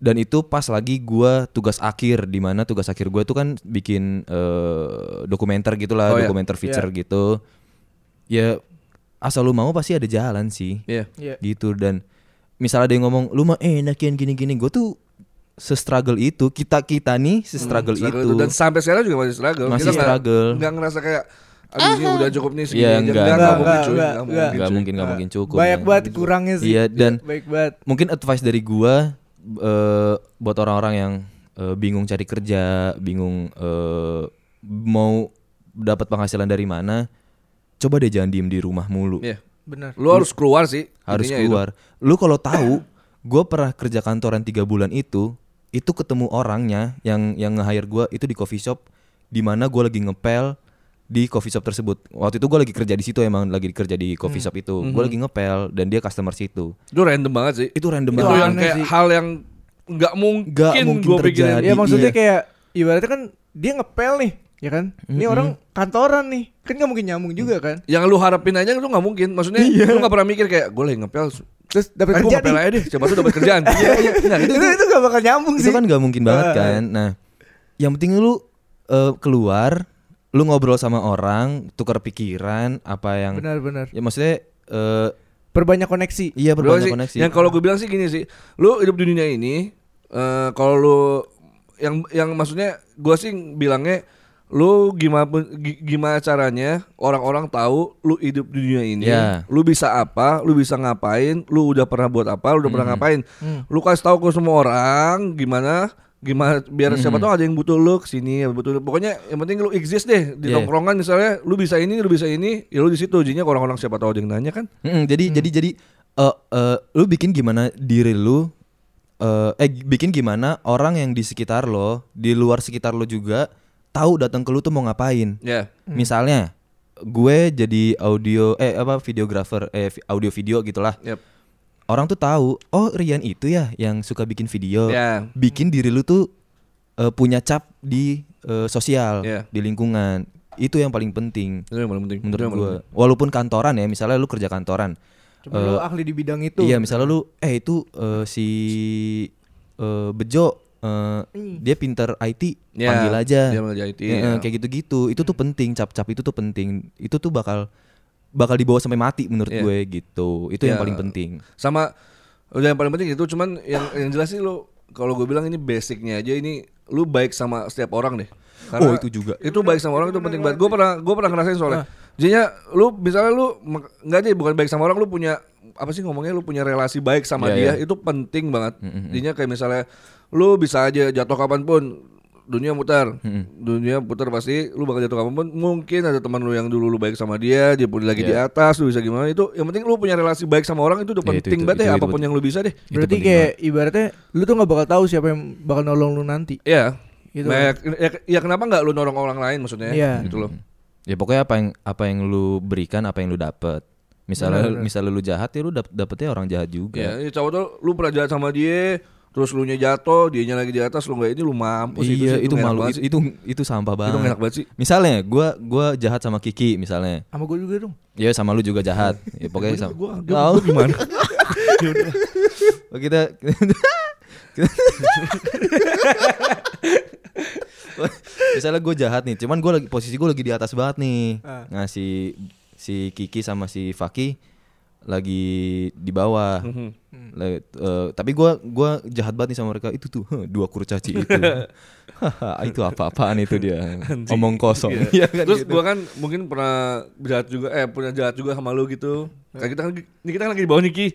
Speaker 4: dan itu pas lagi gua tugas akhir di mana tugas akhir gua tuh kan bikin eh, dokumenter
Speaker 3: Oh,
Speaker 4: gitulah
Speaker 3: iya.
Speaker 4: dokumenter feature gitu ya asal lu mau pasti ada jalan sih
Speaker 3: Iya.
Speaker 5: Iya.
Speaker 4: gitu dan misalnya ada yang ngomong lu mah enak yang gini gini gue tuh se-struggle itu kita kita nih se-struggle
Speaker 3: Hmm, Struggle
Speaker 4: itu
Speaker 3: itu. dan sampai sekarang juga masih struggle.
Speaker 4: Masih
Speaker 3: nggak-
Speaker 4: struggle.
Speaker 3: Nggak ngerasa kayak aduh ini udah cukup nih segini
Speaker 4: Iya,
Speaker 3: aja.
Speaker 4: nggak,
Speaker 3: Nggak,
Speaker 4: nggak,
Speaker 3: nggak mungkin
Speaker 5: nggak,
Speaker 3: cuy.
Speaker 5: nggak,
Speaker 3: Nggak
Speaker 5: nggak.
Speaker 3: mungkin.
Speaker 4: nggak
Speaker 3: cuy.
Speaker 4: mungkin nggak mungkin cukup
Speaker 5: Nah, Banyak
Speaker 4: ya.
Speaker 5: banget kurangnya sih.
Speaker 4: Iya, dan-
Speaker 5: baik banget.
Speaker 4: mungkin advice dari gua eh, buat orang-orang yang eh, bingung cari kerja, bingung eh, mau dapat penghasilan dari mana, coba deh jangan diem di rumah mulu.
Speaker 3: Iya.
Speaker 5: Benar.
Speaker 3: Lu harus keluar sih.
Speaker 4: Harus
Speaker 3: intinya itu.
Speaker 4: keluar. Lu kalau tahu, gua pernah kerja kantoran tiga bulan itu, itu ketemu orangnya yang yang nge-hire gua itu di coffee shop di mana gua lagi ngepel di coffee shop tersebut. Waktu itu gua lagi kerja di situ emang lagi kerja di coffee
Speaker 3: Hmm.
Speaker 4: shop itu. Gua lagi ngepel dan dia customer situ.
Speaker 3: Itu random banget sih.
Speaker 4: Itu random
Speaker 3: Itu
Speaker 4: banget.
Speaker 3: yang kayak hal yang nggak
Speaker 1: Nggak
Speaker 3: mungkin,
Speaker 1: mungkin
Speaker 3: gue pikirin.
Speaker 1: terjadi.
Speaker 5: ya maksudnya
Speaker 1: iya.
Speaker 5: kayak ibaratnya kan dia ngepel nih ya kan ini orang kantoran nih kan nggak mungkin nyambung juga
Speaker 4: Mm.
Speaker 5: kan
Speaker 3: Yang lu harapin aja itu nggak mungkin. Maksudnya
Speaker 4: Iya.
Speaker 3: lu nggak pernah mikir kayak gue lagi ngepel.
Speaker 5: terus dapat
Speaker 3: Dapat gue
Speaker 5: kerja
Speaker 3: ngepel
Speaker 5: nih
Speaker 3: aja deh. Coba tuh dapat kerjaan. Iya iya. Nah,
Speaker 5: itu,
Speaker 3: itu
Speaker 5: itu gak bakal nyambung
Speaker 4: itu
Speaker 5: sih
Speaker 4: kan nggak mungkin banget
Speaker 5: Ah.
Speaker 4: kan nah yang penting lu eh, keluar lu ngobrol sama orang tukar pikiran apa yang
Speaker 5: benar-benar
Speaker 4: ya maksudnya eh,
Speaker 5: perbanyak koneksi
Speaker 4: iya
Speaker 3: Bro,
Speaker 4: berbanyak
Speaker 3: sih,
Speaker 4: koneksi
Speaker 3: Yang kalau gue bilang sih gini sih, lu hidup di dunia ini, eh kalau lu yang yang maksudnya gue sih bilangnya lu gimana pun- gi- gimana caranya orang-orang tahu lu hidup di dunia ini,
Speaker 4: Ya.
Speaker 3: lu bisa apa, lu bisa ngapain, lu udah pernah buat apa, lu udah
Speaker 4: Hmm.
Speaker 3: pernah ngapain, lu kasih tahu ke semua orang gimana gimana biar
Speaker 4: Hmm.
Speaker 3: siapa tahu ada yang butuh lu kesini ya butuh lu. pokoknya yang penting lu exist deh di
Speaker 4: Iya.
Speaker 3: tongkrongan misalnya lu bisa ini lu bisa ini ya lu di situ jadinya orang-orang siapa tahu ada yang nanya kan
Speaker 4: Mm-mm, jadi jadi jadi eh, eh, lu bikin gimana diri lu eh, eh bikin gimana orang yang di sekitar lo di luar sekitar lo juga tahu datang ke lu tuh mau ngapain
Speaker 3: ya
Speaker 4: misalnya gue jadi audio eh apa videographer eh audio video gitulah
Speaker 3: Yap.
Speaker 4: orang tuh tahu oh Rian itu ya yang suka bikin video
Speaker 3: Ya.
Speaker 4: bikin diri lu tuh eh, punya cap di eh, sosial
Speaker 3: Ya.
Speaker 4: di lingkungan itu yang paling penting
Speaker 3: itu yang paling penting Itu
Speaker 4: menurut
Speaker 3: yang paling
Speaker 4: gue walaupun kantoran ya misalnya lu kerja kantoran
Speaker 5: Cuma lu ahli di bidang itu
Speaker 4: Eh, iya misalnya lu eh itu eh, si eh, Bejo eh, dia pinter IT
Speaker 3: Ya,
Speaker 4: panggil aja
Speaker 3: dia panggil IT,
Speaker 4: Ya, eh,
Speaker 3: ya. Hmm.
Speaker 4: kayak gitu-gitu itu tuh penting cap-cap itu tuh penting itu tuh bakal bakal dibawa sampai mati menurut
Speaker 3: Iya.
Speaker 4: gue gitu itu yang
Speaker 3: Ya.
Speaker 4: paling penting
Speaker 3: sama udah yang paling penting itu cuman yang yang jelas sih lo kalau gue bilang ini basicnya aja ini lu baik sama setiap orang deh
Speaker 4: Oh, itu juga. Nah.
Speaker 3: itu baik sama orang itu penting banget gue pernah gue pernah ngerasain soalnya jadinya lu misalnya lu mak- nggak deh bukan baik sama orang lu punya apa sih ngomongnya lu punya relasi baik sama dia
Speaker 4: Iya,
Speaker 3: itu penting banget jadinya kayak misalnya lu bisa aja jatuh kapanpun dunia mutar dunia putar pasti lu bakal jatuh kapanpun mungkin ada teman lu yang dulu lu baik sama dia dia pun lagi di atas lu bisa gimana itu yang penting lu punya relasi baik sama orang itu udah
Speaker 4: Iya, itu-
Speaker 3: penting
Speaker 4: itu-
Speaker 3: banget deh
Speaker 4: itu- itu
Speaker 3: apapun
Speaker 4: penting.
Speaker 3: yang lu bisa deh
Speaker 5: berarti
Speaker 4: penting
Speaker 5: kayak ibaratnya lu tuh nggak bakal tahu siapa yang bakal nolong lu nanti
Speaker 3: Iya.
Speaker 5: Gitu.
Speaker 3: Nah, ya, ya- ya kenapa nggak lu nolong orang lain maksudnya?
Speaker 5: Iya.
Speaker 3: Gitu loh.
Speaker 4: ya pokoknya apa yang apa yang lu berikan apa yang lu dapet misalnya misalnya lu jahat ya lu dap- dapetnya orang jahat juga
Speaker 3: Ya, ya cowok tuh lu pernah jahat sama dia, terus lu nya jatuh, dianya lagi di atas, lu nggak ini lu mampus
Speaker 4: iya
Speaker 3: sih, nggak
Speaker 4: itu,
Speaker 3: enak
Speaker 4: malu
Speaker 3: banget
Speaker 4: itu,
Speaker 3: sih.
Speaker 4: itu itu sampah
Speaker 3: Itu nggak
Speaker 4: banget
Speaker 3: enak banget sih.
Speaker 4: misalnya gua gua jahat sama Kiki misalnya
Speaker 5: sama gue juga dong
Speaker 4: Ya sama lu juga jahat. Ya pokoknya sama.
Speaker 3: Gua-
Speaker 4: Tahu.
Speaker 3: gua gimana?
Speaker 4: Oh, kita kita- Misalnya gue jahat nih, cuman gue lagi posisi gue lagi di atas banget nih.
Speaker 3: Ah.
Speaker 4: Nah si si Kiki sama si Faki lagi di bawah.
Speaker 3: Mhm.
Speaker 4: Lagi- eh, tapi gue gua jahat banget nih sama mereka itu tuh huh, dua kurcaci itu. Haha, itu apa-apaan itu dia. Omong kosong. Iya kan
Speaker 3: Terus
Speaker 4: gitu.
Speaker 3: gua kan mungkin pernah jahat juga eh punya jahat juga sama lu gitu. Kayak kita kan ini kita kan lagi di bawah Niki.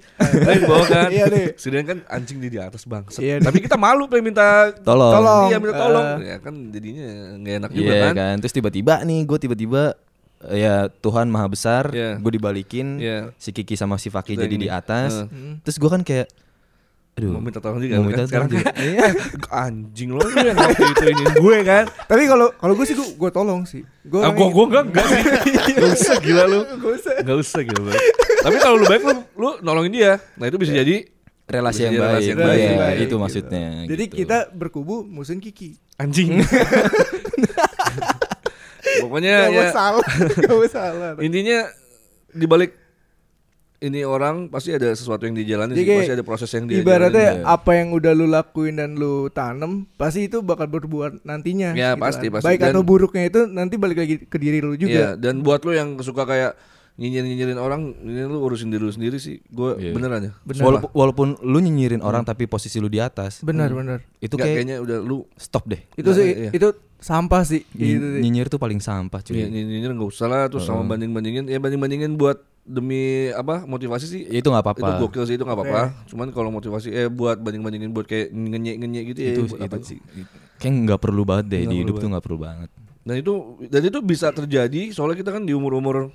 Speaker 3: Lagi di bawah kan.
Speaker 5: Iya nih.
Speaker 3: Sedangkan kan anjing dia di atas bang.
Speaker 5: Iya nih.
Speaker 3: Tapi kita malu pengen minta
Speaker 4: Tolong.
Speaker 5: Tolong.
Speaker 3: Iya minta tolong.
Speaker 5: Eh.
Speaker 3: Ya kan jadinya nggak enak juga
Speaker 4: Iya kan?
Speaker 3: kan.
Speaker 4: Terus tiba-tiba nih gue tiba-tiba eh, ya Tuhan maha besar,
Speaker 3: Iya.
Speaker 4: gue dibalikin
Speaker 3: Iya.
Speaker 4: si Kiki sama si Faki
Speaker 3: Kita
Speaker 4: jadi
Speaker 3: gini.
Speaker 4: di atas.
Speaker 5: Heeh.
Speaker 4: Terus gue kan kayak aduh.
Speaker 3: Mau minta tolong juga
Speaker 4: mau
Speaker 3: kan?
Speaker 4: minta
Speaker 3: Sekarang
Speaker 4: tolong juga.
Speaker 3: kayak, Anjing lo lu yang waktu itu ini gue kan
Speaker 5: tapi kalau kalau gue sih gue gue tolong sih gue
Speaker 3: Ah, gua gua enggak enggak sih. Enggak usah gila lu. Enggak usah. Enggak usah gila. banget. Tapi kalau lu baik lu lu nolongin dia. Nah, itu bisa jadi Jadi
Speaker 4: relasi yang
Speaker 3: relasi
Speaker 4: baik.
Speaker 3: yang
Speaker 4: Iya,
Speaker 5: baik. Baik,
Speaker 4: itu
Speaker 5: gitu.
Speaker 4: maksudnya.
Speaker 5: jadi
Speaker 4: gitu.
Speaker 5: kita berkubu musim kiki
Speaker 3: anjing. Pokoknya
Speaker 5: Gak
Speaker 3: ya
Speaker 5: salah gak
Speaker 3: Iya,
Speaker 5: masalah
Speaker 3: intinya di balik ini orang pasti ada sesuatu yang dijalani, sih,
Speaker 5: Jadi
Speaker 3: pasti ada proses yang Iya. dia
Speaker 5: Iya, ibaratnya
Speaker 3: jalanin.
Speaker 5: apa yang udah lu lakuin dan lu tanem pasti itu bakal berbuat nantinya
Speaker 3: Ya,
Speaker 5: gitu
Speaker 3: pasti,
Speaker 5: kan.
Speaker 3: pasti.
Speaker 5: baik
Speaker 3: Dan-
Speaker 5: atau buruknya itu nanti balik lagi ke diri lu
Speaker 3: Iya,
Speaker 5: juga
Speaker 3: dan buat lu yang suka kayak nyinyir-nyinyirin orang, ini lu urusin diri lu sendiri sih. Gue
Speaker 4: Iya.
Speaker 3: beneran ya.
Speaker 4: Walaupun, walaupun lu nyinyirin orang tapi posisi lu di atas,
Speaker 5: benar benar
Speaker 3: Hmm.
Speaker 4: itu
Speaker 3: Nggak,
Speaker 4: kayak
Speaker 3: kayaknya udah lu
Speaker 4: stop deh.
Speaker 5: itu
Speaker 3: Nah,
Speaker 5: sih
Speaker 3: Hmm. iya.
Speaker 5: itu sampah sih
Speaker 4: Nyi-
Speaker 5: gitu sih.
Speaker 4: Nyinyir tuh paling sampah
Speaker 3: Iya,
Speaker 4: cuy.
Speaker 3: nyinyir nggak usah lah terus sama banding-bandingin. Ya banding-bandingin buat demi apa? Motivasi sih.
Speaker 4: Ya Itu nggak apa-apa.
Speaker 3: Itu gokil sih itu nggak apa-apa. Cuman kalau motivasi eh buat banding-bandingin buat kayak ngenyek-nyenyek gitu ya
Speaker 4: Itu
Speaker 3: buat
Speaker 4: itu
Speaker 3: apa sih?
Speaker 4: kayak nggak perlu banget deh di hidup tuh nggak perlu banget.
Speaker 3: Dan itu dan itu bisa terjadi soalnya kita kan di umur-umur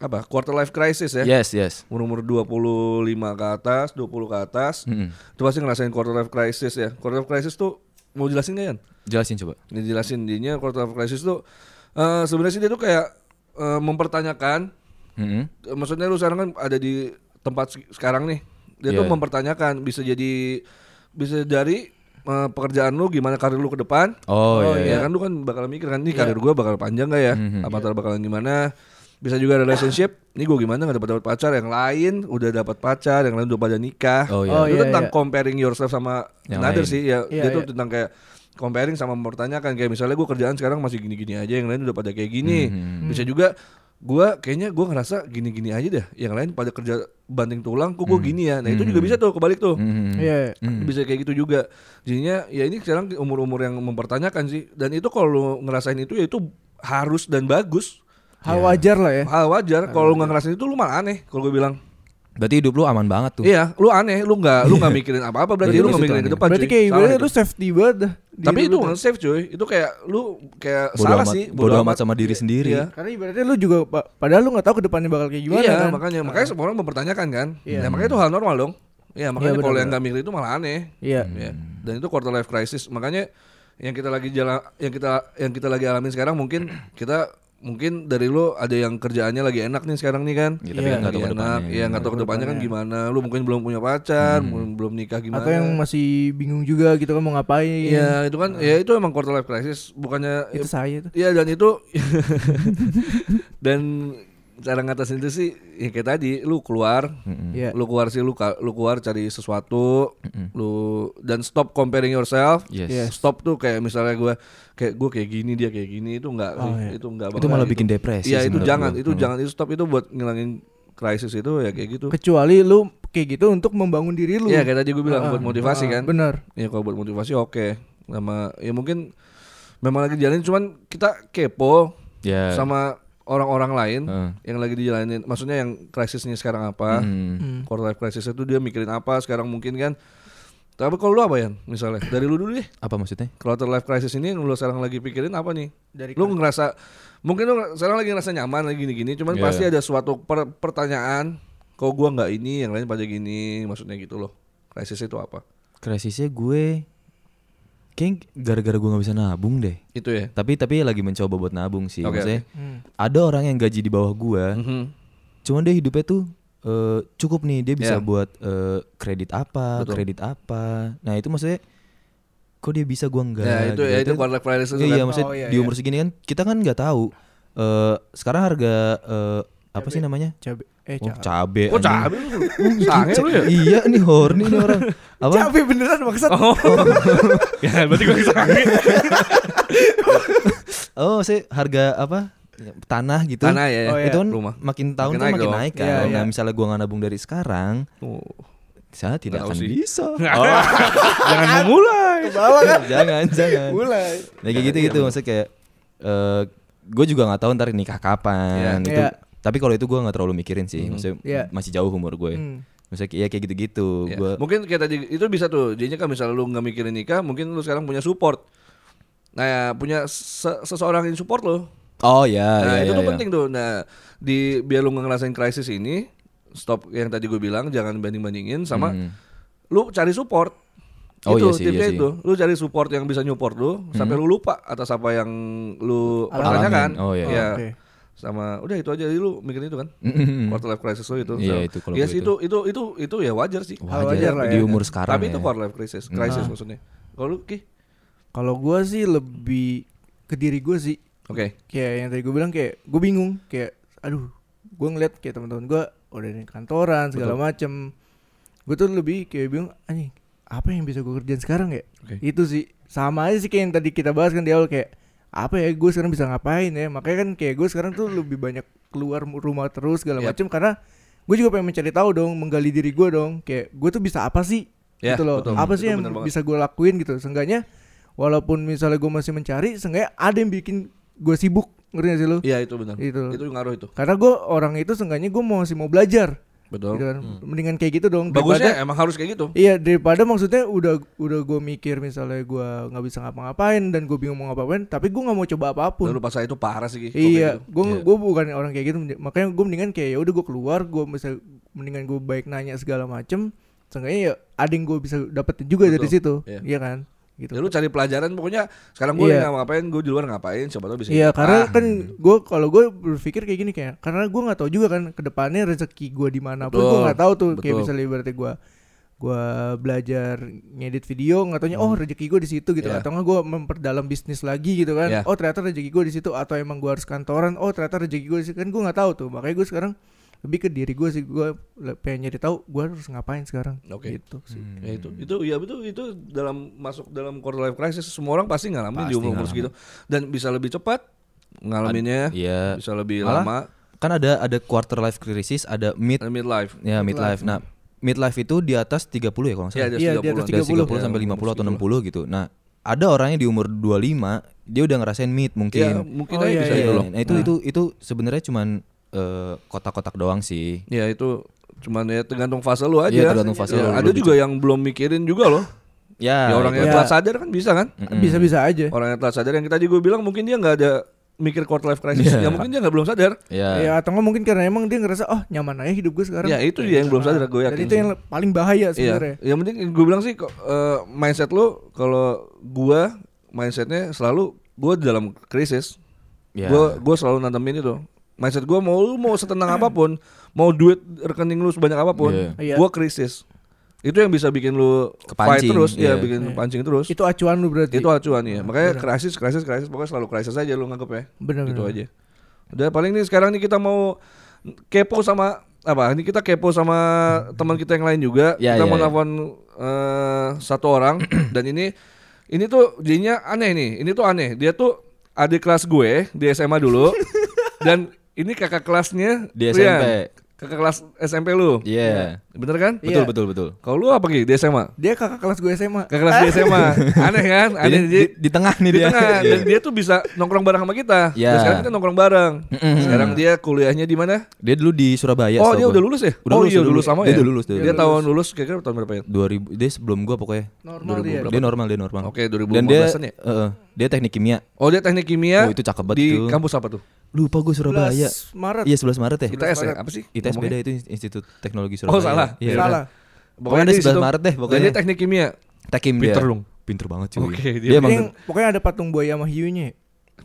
Speaker 3: apa? quarter life crisis ya.
Speaker 4: Yes yes.
Speaker 3: Umur-umur 25 ke atas, 20 ke atas.
Speaker 4: Mm-mm.
Speaker 3: Itu pasti ngerasain quarter life crisis ya. Quarter life crisis tuh mau jelasin nggak Yan?
Speaker 4: Jelasin coba.
Speaker 3: Ini jelasin intinya quarter life crisis tuh eh sebenarnya sih dia tuh kayak eh, mempertanyakan
Speaker 4: Mm-mm.
Speaker 3: maksudnya lu sekarang kan ada di tempat se- sekarang nih dia tuh
Speaker 4: Iya.
Speaker 3: mempertanyakan bisa jadi bisa dari eh, pekerjaan lu, gimana karir lu ke depan.
Speaker 4: Oh, iya, iya. Mhm.
Speaker 3: kan lu kan bakal mikir kan, ini karir gua bakal panjang gak ya? Apa ntar bakalan gimana? Bisa juga ada relationship, ini gua gimana gak dapat dapat pacar, yang lain udah dapat pacar, yang lain udah pada nikah.
Speaker 4: Oh, iya.
Speaker 5: Oh,
Speaker 3: itu
Speaker 5: iya,
Speaker 3: tentang
Speaker 5: iya.
Speaker 3: comparing yourself sama
Speaker 4: Yang
Speaker 3: another
Speaker 4: lain.
Speaker 3: sih, ya
Speaker 5: Iya,
Speaker 3: dia tuh
Speaker 5: iya.
Speaker 3: tentang kayak comparing sama mempertanyakan kayak misalnya gua kerjaan sekarang masih gini-gini aja, yang lain udah pada kayak gini. Bisa juga gua kayaknya gua ngerasa gini-gini aja deh, yang lain pada kerja banting tulang, kok gua gini ya. Nah itu juga bisa tuh kebalik tuh.
Speaker 4: Mhm.
Speaker 5: Iya.
Speaker 3: Bisa kayak gitu juga. Jadinya ya ini sekarang umur-umur yang mempertanyakan sih. Dan itu kalau lu ngerasain itu ya itu harus dan bagus.
Speaker 5: Hal wajar lah ya.
Speaker 3: Hal wajar. Kalau lu nggak ngerasain itu lu malah aneh. Kalau gue bilang,
Speaker 4: Berarti hidup lu aman banget tuh.
Speaker 3: iya, lu aneh, lu nggak lu nggak mikirin apa-apa berarti
Speaker 4: Berarti
Speaker 3: lu nggak
Speaker 4: lu
Speaker 3: mikirin
Speaker 4: situ
Speaker 3: ke depan.
Speaker 5: Berarti
Speaker 3: cuy.
Speaker 5: kayak
Speaker 3: Salah
Speaker 5: ibaratnya
Speaker 3: itu.
Speaker 5: lu safety banget dah. di
Speaker 3: gitu. Tapi
Speaker 5: hidup
Speaker 3: itu
Speaker 5: lu tuh.
Speaker 3: nggak safe cuy. Itu kayak lu kayak
Speaker 4: Bodo
Speaker 3: salah
Speaker 4: amat-
Speaker 3: sih.
Speaker 4: bodo amat sama diri sendiri.
Speaker 3: Iya.
Speaker 5: kan. Karena ibaratnya lu juga pa- padahal lu nggak tahu ke depannya bakal kayak gimana
Speaker 3: iya,
Speaker 5: kan.
Speaker 3: makanya makanya semua orang mempertanyakan kan.
Speaker 5: Iya.
Speaker 3: Nah, makanya itu hal normal dong. Iya, makanya
Speaker 5: benar,
Speaker 3: kalau yang
Speaker 5: benar.
Speaker 3: nggak mikirin itu malah aneh.
Speaker 5: Iya.
Speaker 3: Ya.
Speaker 4: Hmm.
Speaker 3: Dan itu quarter life crisis. Makanya yang kita lagi jala, yang kita yang kita lagi alamin sekarang mungkin kita mungkin dari lo ada yang kerjaannya lagi enak nih sekarang nih kan.
Speaker 4: Ya, tapi kan
Speaker 3: Lagi
Speaker 4: nggak tahu ke
Speaker 3: enak,
Speaker 4: depannya.
Speaker 3: Iya, nggak tahu ke depannya kan gimana. Lu mungkin belum punya pacar,
Speaker 4: Hmm.
Speaker 3: mungkin belum nikah gimana.
Speaker 5: Atau yang masih bingung juga gitu kan mau ngapain.
Speaker 3: Iya, itu kan ya itu emang quarter life crisis, bukannya
Speaker 5: Itu saya tuh.
Speaker 3: Iya dan itu dan cara ngatasin itu sih ya kayak tadi lu keluar
Speaker 5: Iya.
Speaker 3: Hmm. lu keluar sih lu ka- lu keluar cari sesuatu lu dan stop comparing yourself
Speaker 4: Yes.
Speaker 5: Yes.
Speaker 3: stop tuh kayak misalnya gue kayak gue kayak gini dia kayak gini itu enggak sih itu enggak
Speaker 4: Itu malah bikin depresi
Speaker 3: iya
Speaker 4: sih
Speaker 3: itu
Speaker 4: menurut
Speaker 3: jangan
Speaker 4: gua. Hmm.
Speaker 3: itu jangan itu stop itu buat ngilangin krisis itu ya kayak gitu
Speaker 5: Kecuali lu kayak gitu untuk membangun diri lu. Ah,
Speaker 3: Iya kayak tadi gue bilang buat motivasi kan
Speaker 5: Benar.
Speaker 3: Ya kalau buat motivasi oke. Sama ya mungkin memang lagi jalanin cuman kita kepo
Speaker 4: Ya.
Speaker 3: sama orang-orang lain
Speaker 4: Heeh.
Speaker 3: yang lagi dijalanin. Maksudnya yang krisisnya sekarang apa?
Speaker 4: Mhm.
Speaker 3: Quarter life crisis itu dia mikirin apa sekarang mungkin kan. Tapi kalau lu apa ya misalnya? Dari lu dulu deh.
Speaker 4: Apa maksudnya?
Speaker 3: Quarter life crisis ini yang lu sekarang lagi pikirin apa nih?
Speaker 5: Dari
Speaker 3: lu ngerasa mungkin lu sekarang lagi ngerasa nyaman lagi gini-gini cuman
Speaker 4: Iya.
Speaker 3: pasti ada suatu per- pertanyaan kok gua nggak ini yang lain pada gini maksudnya gitu loh. Krisis itu apa?
Speaker 4: Krisisnya gue Kayaknya gara-gara gue nggak bisa nabung deh.
Speaker 3: Itu ya.
Speaker 4: Tapi tapi lagi mencoba buat nabung sih.
Speaker 3: Oke,
Speaker 4: Maksudnya
Speaker 5: Hmm.
Speaker 4: ada orang yang gaji di bawah gue,
Speaker 3: Mhm.
Speaker 4: cuman dia hidupnya tuh eh, cukup nih dia bisa
Speaker 3: Iya.
Speaker 4: buat eh, kredit apa,
Speaker 3: Betul.
Speaker 4: kredit apa. Nah itu maksudnya kok dia bisa gue enggak?
Speaker 3: Ya itu ya itu
Speaker 4: Kan-
Speaker 3: quarter life crisis itu
Speaker 4: Iya,
Speaker 3: kan.
Speaker 4: maksudnya
Speaker 5: Oh, iya,
Speaker 4: di
Speaker 5: iya.
Speaker 4: umur segini kan kita kan nggak tahu. eh sekarang harga eh, apa sih namanya?
Speaker 5: Cabe eh
Speaker 4: Oh,
Speaker 5: cabe.
Speaker 4: cabe.
Speaker 3: Kok
Speaker 4: anjing.
Speaker 3: cabe lu? Sange lu ya?
Speaker 4: Iya nih horny nih orang. Apa?
Speaker 5: Cabe beneran maksud.
Speaker 3: Oh. ya berarti gua sange.
Speaker 4: Oh, saya harga apa? Tanah gitu.
Speaker 3: Tanah ya. ya.
Speaker 5: Oh, iya.
Speaker 4: Itu kan
Speaker 3: Rumah.
Speaker 4: makin tahun
Speaker 3: Makin
Speaker 4: tuh
Speaker 3: naik
Speaker 4: makin
Speaker 3: dong.
Speaker 4: naik kan.
Speaker 5: Iya,
Speaker 4: Nah,
Speaker 5: iya.
Speaker 4: misalnya gua nggak nabung dari sekarang,
Speaker 3: Oh.
Speaker 4: saya
Speaker 3: Nggak
Speaker 4: tidak akan
Speaker 3: tahu sih.
Speaker 4: bisa. Oh.
Speaker 3: Jangan memulai. Iya,
Speaker 5: Bawa kan.
Speaker 4: jangan, jangan.
Speaker 5: Mulai.
Speaker 4: Nah, kayak gitu-gitu maksudnya kayak eh gue juga nggak tahu ntar nikah
Speaker 5: Iya.
Speaker 4: kapan itu.
Speaker 5: Iya.
Speaker 4: Tapi kalau itu gua nggak terlalu mikirin sih.
Speaker 3: Mm-hmm.
Speaker 4: Maksudnya
Speaker 5: Iya.
Speaker 4: masih jauh umur gue.
Speaker 5: Hmm.
Speaker 4: Maksudnya kayak- ya kayak gitu-gitu.
Speaker 3: Ya,
Speaker 4: Gua
Speaker 3: Mungkin kayak tadi itu bisa tuh. Jadinya kan misalnya lu nggak mikirin nikah, mungkin lu sekarang punya support. Nah, ya, punya se- seseorang yang support lo.
Speaker 4: Oh ya,
Speaker 3: Nah,
Speaker 4: ya,
Speaker 3: itu
Speaker 4: ya,
Speaker 3: tuh
Speaker 4: ya.
Speaker 3: penting tuh. Nah, di biar lu nggak ngerasain krisis ini, stop yang tadi gue bilang jangan banding-bandingin sama
Speaker 4: Hmm.
Speaker 3: lu cari support.
Speaker 4: Oh,
Speaker 3: itu
Speaker 4: iya sih,
Speaker 3: tipsnya
Speaker 4: iya sih. Hmm.
Speaker 3: itu. Lu cari support yang bisa nyupport lu sampai lu lupa atas apa yang lu
Speaker 5: Alamin.
Speaker 3: pertanyakan.
Speaker 4: Oh, iya.
Speaker 3: Ya,
Speaker 5: Oh, oke.
Speaker 3: Sama udah itu aja jadi lu mikirin itu kan.
Speaker 4: Mm-mm.
Speaker 3: Quarter life crisis lu itu.
Speaker 4: Hmm. Iya,
Speaker 3: So,
Speaker 4: itu kalau
Speaker 3: iya
Speaker 4: gue
Speaker 3: sih, itu.
Speaker 4: itu.
Speaker 3: itu itu itu ya wajar sih.
Speaker 4: Wajar,
Speaker 5: Wajar lah
Speaker 4: di
Speaker 5: ya.
Speaker 4: umur sekarang.
Speaker 3: Tapi itu
Speaker 4: ya.
Speaker 3: quarter life crisis, crisis maksudnya. Kalau lu Ki?
Speaker 5: Kalau gua sih lebih ke diri gua sih.
Speaker 3: Oke.
Speaker 5: kayak yang tadi gue bilang kayak gue bingung kayak aduh gue ngeliat kayak teman-teman gue udah di kantoran segala macem gue tuh lebih kayak bingung anjing apa yang bisa gue kerjain sekarang ya
Speaker 3: Oke.
Speaker 5: itu sih sama aja sih kayak yang tadi kita bahas kan di awal kayak apa ya gue sekarang bisa ngapain ya makanya kan kayak gue sekarang tuh lebih banyak keluar mu- rumah terus segala
Speaker 3: Yap.
Speaker 5: macem karena gue juga pengen mencari tahu dong menggali diri gue dong kayak gue tuh bisa apa sih
Speaker 3: Ya,
Speaker 5: gitu loh
Speaker 3: betul.
Speaker 5: apa sih
Speaker 3: Itu
Speaker 5: yang
Speaker 3: bener banget.
Speaker 5: bisa gue lakuin gitu seenggaknya walaupun misalnya gue masih mencari seenggaknya ada yang bikin gue sibuk ngerti gak sih lu
Speaker 3: Iya, itu benar.
Speaker 5: Itu.
Speaker 3: Itu ngaruh itu.
Speaker 5: karena gue orang itu seenggaknya gue masih mau belajar gitu
Speaker 3: Betul.
Speaker 5: kan. mendingan kayak gitu dong
Speaker 3: Hmm. Bagusnya
Speaker 5: daripada-
Speaker 3: emang harus kayak gitu.
Speaker 5: iya daripada maksudnya udah udah gue mikir misalnya gue nggak bisa ngapa-ngapain dan gue bingung mau ngapain tapi gue nggak mau coba apapun
Speaker 3: Dan lu pasal itu parah sih Ki. kalau kayak
Speaker 5: Iya,
Speaker 3: gitu.
Speaker 5: gue gue bukan orang kayak gitu, makanya gue mendingan kayak ya udah gue keluar, gue bisa mendingan gue baik nanya segala macem, seenggaknya ya ada yang gue bisa dapetin juga dari
Speaker 3: Betul.
Speaker 5: situ,
Speaker 3: Iya.
Speaker 5: iya kan? Gitu.
Speaker 3: Ya lu cari pelajaran pokoknya sekarang gue
Speaker 5: Iya.
Speaker 3: nggak ngapain, gue di luar ngapain, siapa tau bisa.
Speaker 5: Iya,
Speaker 3: ikut.
Speaker 5: karena
Speaker 3: Ah,
Speaker 5: kan gue kalau gue berpikir kayak gini kayak, karena gue nggak tahu juga kan kedepannya rezeki gue di mana pun gue
Speaker 3: Betul,
Speaker 5: nggak tahu tuh, kayak
Speaker 3: betul.
Speaker 5: misalnya berarti gue gua belajar ngedit video nggak taunya
Speaker 3: Hmm.
Speaker 5: oh rezeki gue di situ gitu
Speaker 4: Iya.
Speaker 5: atau nggak gue memperdalam bisnis lagi gitu kan
Speaker 3: Iya.
Speaker 5: oh ternyata rezeki gue di situ atau emang gue harus kantoran oh ternyata rezeki gue di situ kan gue nggak tahu tuh makanya gue sekarang lebih ke diri gue sih gue pengen nyari tahu gue harus ngapain sekarang
Speaker 3: Oke.
Speaker 5: gitu sih
Speaker 3: Ya itu, itu ya betul itu dalam masuk dalam quarter life crisis semua orang pasti ngalamin di
Speaker 4: Pasti
Speaker 3: umur umur
Speaker 4: ngalamin.
Speaker 3: segitu dan bisa lebih cepat ngalaminnya,
Speaker 4: Iya.
Speaker 3: bisa lebih
Speaker 4: Malah,
Speaker 3: lama
Speaker 4: Kan ada ada quarter life crisis, ada mid
Speaker 3: mid life.
Speaker 4: ya midlife. Nah, midlife itu di atas 30 ya kalau nggak salah.
Speaker 3: Iya, ya,
Speaker 5: Iya,
Speaker 3: di atas
Speaker 5: 30.
Speaker 4: 30, sampai 50 atau 60 gitu. Nah, ada orangnya di umur 25 dia udah ngerasain mid mungkin.
Speaker 3: Ya, mungkin
Speaker 5: Oh,
Speaker 3: aja
Speaker 5: iya,
Speaker 3: bisa
Speaker 5: iya,
Speaker 3: itu loh.
Speaker 4: Nah, itu itu itu sebenarnya cuman eh, kotak-kotak doang sih.
Speaker 3: Ya itu cuman ya tergantung fase lu aja.
Speaker 4: Iya, tergantung fase lu.
Speaker 3: Ada
Speaker 4: Lu
Speaker 3: juga yang belum mikirin juga loh. Ya
Speaker 4: Ya,
Speaker 3: orang
Speaker 5: iya.
Speaker 3: yang
Speaker 5: Hmm.
Speaker 3: telah sadar kan bisa kan?
Speaker 5: bisa-bisa aja
Speaker 3: Orang yang telah sadar yang tadi gue bilang mungkin dia nggak ada mikir quarter life crisis. Ya mungkin dia nggak belum sadar.
Speaker 4: ya.
Speaker 3: Iya.
Speaker 5: Ya atau nggak mungkin karena emang dia ngerasa oh nyaman aja hidup gue sekarang.
Speaker 3: Ya itu dia yang belum sadar gue
Speaker 5: Dan
Speaker 3: yakin.
Speaker 5: itu yang le- paling bahaya sebenarnya.
Speaker 3: Iya. Yang penting gue bilang sih kok, eh, mindset lo kalau gue mindsetnya selalu gue dalam krisis.
Speaker 4: Ya.
Speaker 3: Gue gue selalu nantemin itu. Mindset gue mau lu mau setenang apapun, mau duit rekening lu sebanyak apapun,
Speaker 5: Iya.
Speaker 3: gue krisis. Itu yang bisa bikin lu fight
Speaker 4: Kepancing,
Speaker 3: terus, ya
Speaker 4: iya.
Speaker 3: bikin kepancing terus.
Speaker 5: Itu acuan lu berarti.
Speaker 3: Itu acuan ya. Makanya krisis, krisis, krisis, pokoknya selalu krisis aja lu nganggep ya.
Speaker 5: Bener,
Speaker 3: Gitu
Speaker 5: bener.
Speaker 3: aja. Udah paling nih sekarang nih kita mau kepo sama apa? Ini kita kepo sama teman kita yang lain juga.
Speaker 4: Ya,
Speaker 3: kita
Speaker 4: ya,
Speaker 3: mau
Speaker 4: ya.
Speaker 3: nelfon eh, satu orang dan ini ini tuh jadinya aneh nih. Ini tuh aneh. Dia tuh adik kelas gue di SMA dulu dan ini kakak kelasnya
Speaker 4: Di
Speaker 3: Rian.
Speaker 4: SMP.
Speaker 3: Kakak kelas SMP lu.
Speaker 4: Iya.
Speaker 3: Bener kan?
Speaker 5: Iya.
Speaker 4: Betul betul betul.
Speaker 3: Kalau lu apa Ki? Di SMA?
Speaker 5: Dia kakak kelas gue SMA.
Speaker 3: Kakak kelas di SMA. Aneh kan?
Speaker 4: Jadi
Speaker 3: Aneh
Speaker 4: di,
Speaker 3: jadi
Speaker 4: di tengah nih
Speaker 3: di
Speaker 4: dia.
Speaker 3: tengah
Speaker 4: Iya.
Speaker 3: dan dia tuh bisa nongkrong bareng sama kita. Dan
Speaker 4: Iya.
Speaker 3: sekarang kita nongkrong bareng.
Speaker 4: Mm-mm.
Speaker 3: Sekarang dia kuliahnya di mana?
Speaker 4: Dia dulu di Surabaya.
Speaker 3: oh,
Speaker 4: setahu
Speaker 3: dia
Speaker 4: gua.
Speaker 3: udah lulus ya? oh, iya,
Speaker 4: Udah lulus, udah
Speaker 3: udah lulus
Speaker 4: lulus.
Speaker 3: sama
Speaker 4: Dia
Speaker 3: ya.
Speaker 4: udah lulus, dia
Speaker 3: Dia,
Speaker 4: udah
Speaker 3: tahun lulus kira-kira tahun berapa ya?
Speaker 4: 2000 dia sebelum gua pokoknya.
Speaker 5: Normal
Speaker 4: 2000
Speaker 5: dia.
Speaker 4: Dia normal, dia normal.
Speaker 3: Oke, 2015
Speaker 4: Dan dia
Speaker 3: ya.
Speaker 4: eh, eh, dia teknik kimia.
Speaker 3: Oh, dia teknik kimia.
Speaker 4: Oh, itu cakep banget
Speaker 3: Di
Speaker 4: tuh.
Speaker 3: kampus apa tuh?
Speaker 4: Lupa gua Surabaya.
Speaker 5: 11 Maret.
Speaker 4: Iya 11 Maret ya.
Speaker 3: ITS ya? Apa sih?
Speaker 4: ITS
Speaker 3: ngomongnya?
Speaker 4: beda itu Institut Teknologi Surabaya.
Speaker 3: Oh, salah.
Speaker 4: Iya,
Speaker 5: Salah.
Speaker 4: benar. Pokoknya
Speaker 3: dia
Speaker 4: dia
Speaker 3: di
Speaker 4: 11
Speaker 3: situ.
Speaker 4: Maret deh
Speaker 3: Dan
Speaker 4: pokoknya.
Speaker 3: Dia teknik kimia.
Speaker 4: Tekim dia.
Speaker 3: Pinter dong.
Speaker 4: Pinter banget cuy.
Speaker 3: Oke,
Speaker 4: dia,
Speaker 3: dia
Speaker 4: emang
Speaker 5: Yang- pokoknya ada patung buaya sama hiunya.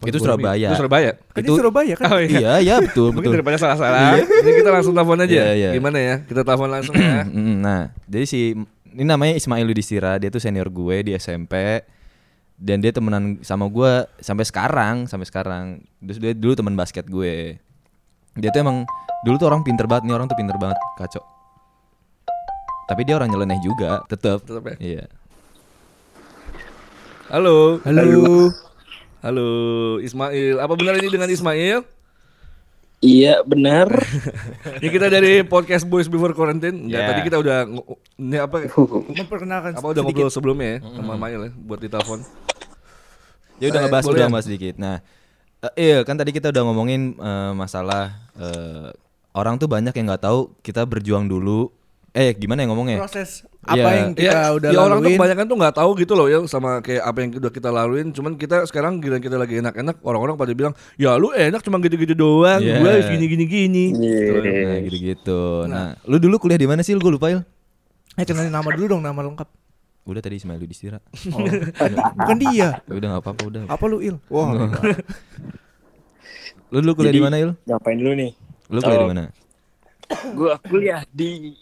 Speaker 4: itu Surabaya.
Speaker 3: Itu Surabaya.
Speaker 5: Kan
Speaker 4: Itu-
Speaker 5: itu Surabaya kan.
Speaker 3: Oh iya.
Speaker 4: Iya, iya betul
Speaker 3: Mungkin
Speaker 4: betul.
Speaker 3: daripada salah-salah, ini kita langsung telepon aja.
Speaker 4: Iya, iya.
Speaker 3: Gimana ya? Kita telepon langsung ya.
Speaker 4: Mm, nah, jadi si ini namanya Ismail Yudhistira, dia tuh senior gue di SMP dan dia temenan sama gue sampai sekarang, sampai sekarang. Terus dia dulu teman basket gue. Dia tuh emang dulu tuh orang pinter banget, nih orang tuh pinter banget, kacau. Tapi dia orang nyeleneh juga, tetep.
Speaker 3: Tetep ya?
Speaker 4: Iya.
Speaker 3: Halo.
Speaker 5: Halo.
Speaker 3: Halo, Ismail. Apa benar ini dengan Ismail?
Speaker 1: Iya benar.
Speaker 3: ya kita dari podcast Boys Before Quarantine. Enggak,
Speaker 4: Ya.
Speaker 3: tadi kita udah ngo- ini apa
Speaker 5: Memperkenalkan
Speaker 3: apa udah ngobrol sebelumnya ya sama Mail ya buat ditelepon.
Speaker 4: Ya udah
Speaker 3: Eh,
Speaker 4: ngebahas
Speaker 3: boleh
Speaker 4: udah
Speaker 3: ya?
Speaker 4: ngebahas sedikit. Nah, eh, iya kan tadi kita udah ngomongin eh, masalah eh, orang tuh banyak yang nggak tahu kita berjuang dulu. Eh gimana yang ngomongnya?
Speaker 5: proses apa
Speaker 4: Iya.
Speaker 5: yang kita udah
Speaker 3: ya orang tuh
Speaker 5: laluin.
Speaker 3: kebanyakan tuh nggak tahu gitu loh ya sama kayak apa yang udah kita laluin. Cuman kita sekarang gila kita lagi enak-enak orang-orang pada bilang, "Ya lu enak cuma gitu-gitu doang,
Speaker 4: Iya.
Speaker 3: gue
Speaker 5: Eh.
Speaker 3: gini-gini gini."
Speaker 4: Nah, gitu-gitu. Nah, lu dulu kuliah di mana sih? Gue lupa, Il.
Speaker 5: Eh kenalin nama dulu dong nama lengkap.
Speaker 4: Udah tadi Ismail Yudhistira.
Speaker 5: Bukan dia.
Speaker 4: udah nggak apa-apa, udah.
Speaker 5: Apa lu Il? Wah.
Speaker 4: Lu dulu kuliah
Speaker 1: Jadi-
Speaker 4: di mana, Il?
Speaker 1: Ngapain dulu nih?
Speaker 4: Lu kuliah di
Speaker 1: Oh,
Speaker 4: mana?
Speaker 1: Gua kuliah di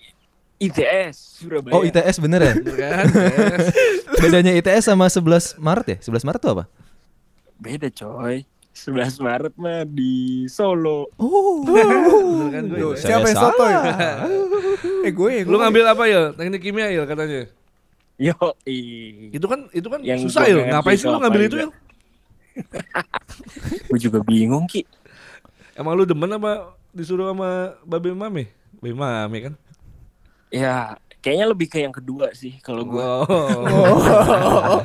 Speaker 1: ITS Surabaya.
Speaker 4: Oh, ITS bener ya?
Speaker 3: Kan? Yes.
Speaker 4: Bedanya ITS sama 11 Maret ya? 11 Maret tuh apa?
Speaker 1: Beda coy. 11 Maret mah di Solo.
Speaker 4: Oh.
Speaker 3: Bener kan gue?
Speaker 5: Tuh,
Speaker 4: Saya
Speaker 5: siapa yang
Speaker 4: salah.
Speaker 5: soto ya? eh gue ya.
Speaker 3: Lu
Speaker 5: gue.
Speaker 3: ngambil apa ya? Teknik kimia ya katanya.
Speaker 1: Yo.
Speaker 3: Itu kan itu kan
Speaker 1: Yang
Speaker 3: susah
Speaker 1: gua
Speaker 3: ya.
Speaker 1: pengen
Speaker 3: Ngapain sih
Speaker 1: gitu
Speaker 3: lu ngambil
Speaker 1: apa
Speaker 3: itu ya?
Speaker 1: enggak? Gue juga bingung Ki.
Speaker 3: Emang lu demen apa disuruh sama Babe Mame? Babe Mame kan?
Speaker 1: Ya, kayaknya lebih ke yang kedua sih kalau
Speaker 3: Wow.
Speaker 1: gua.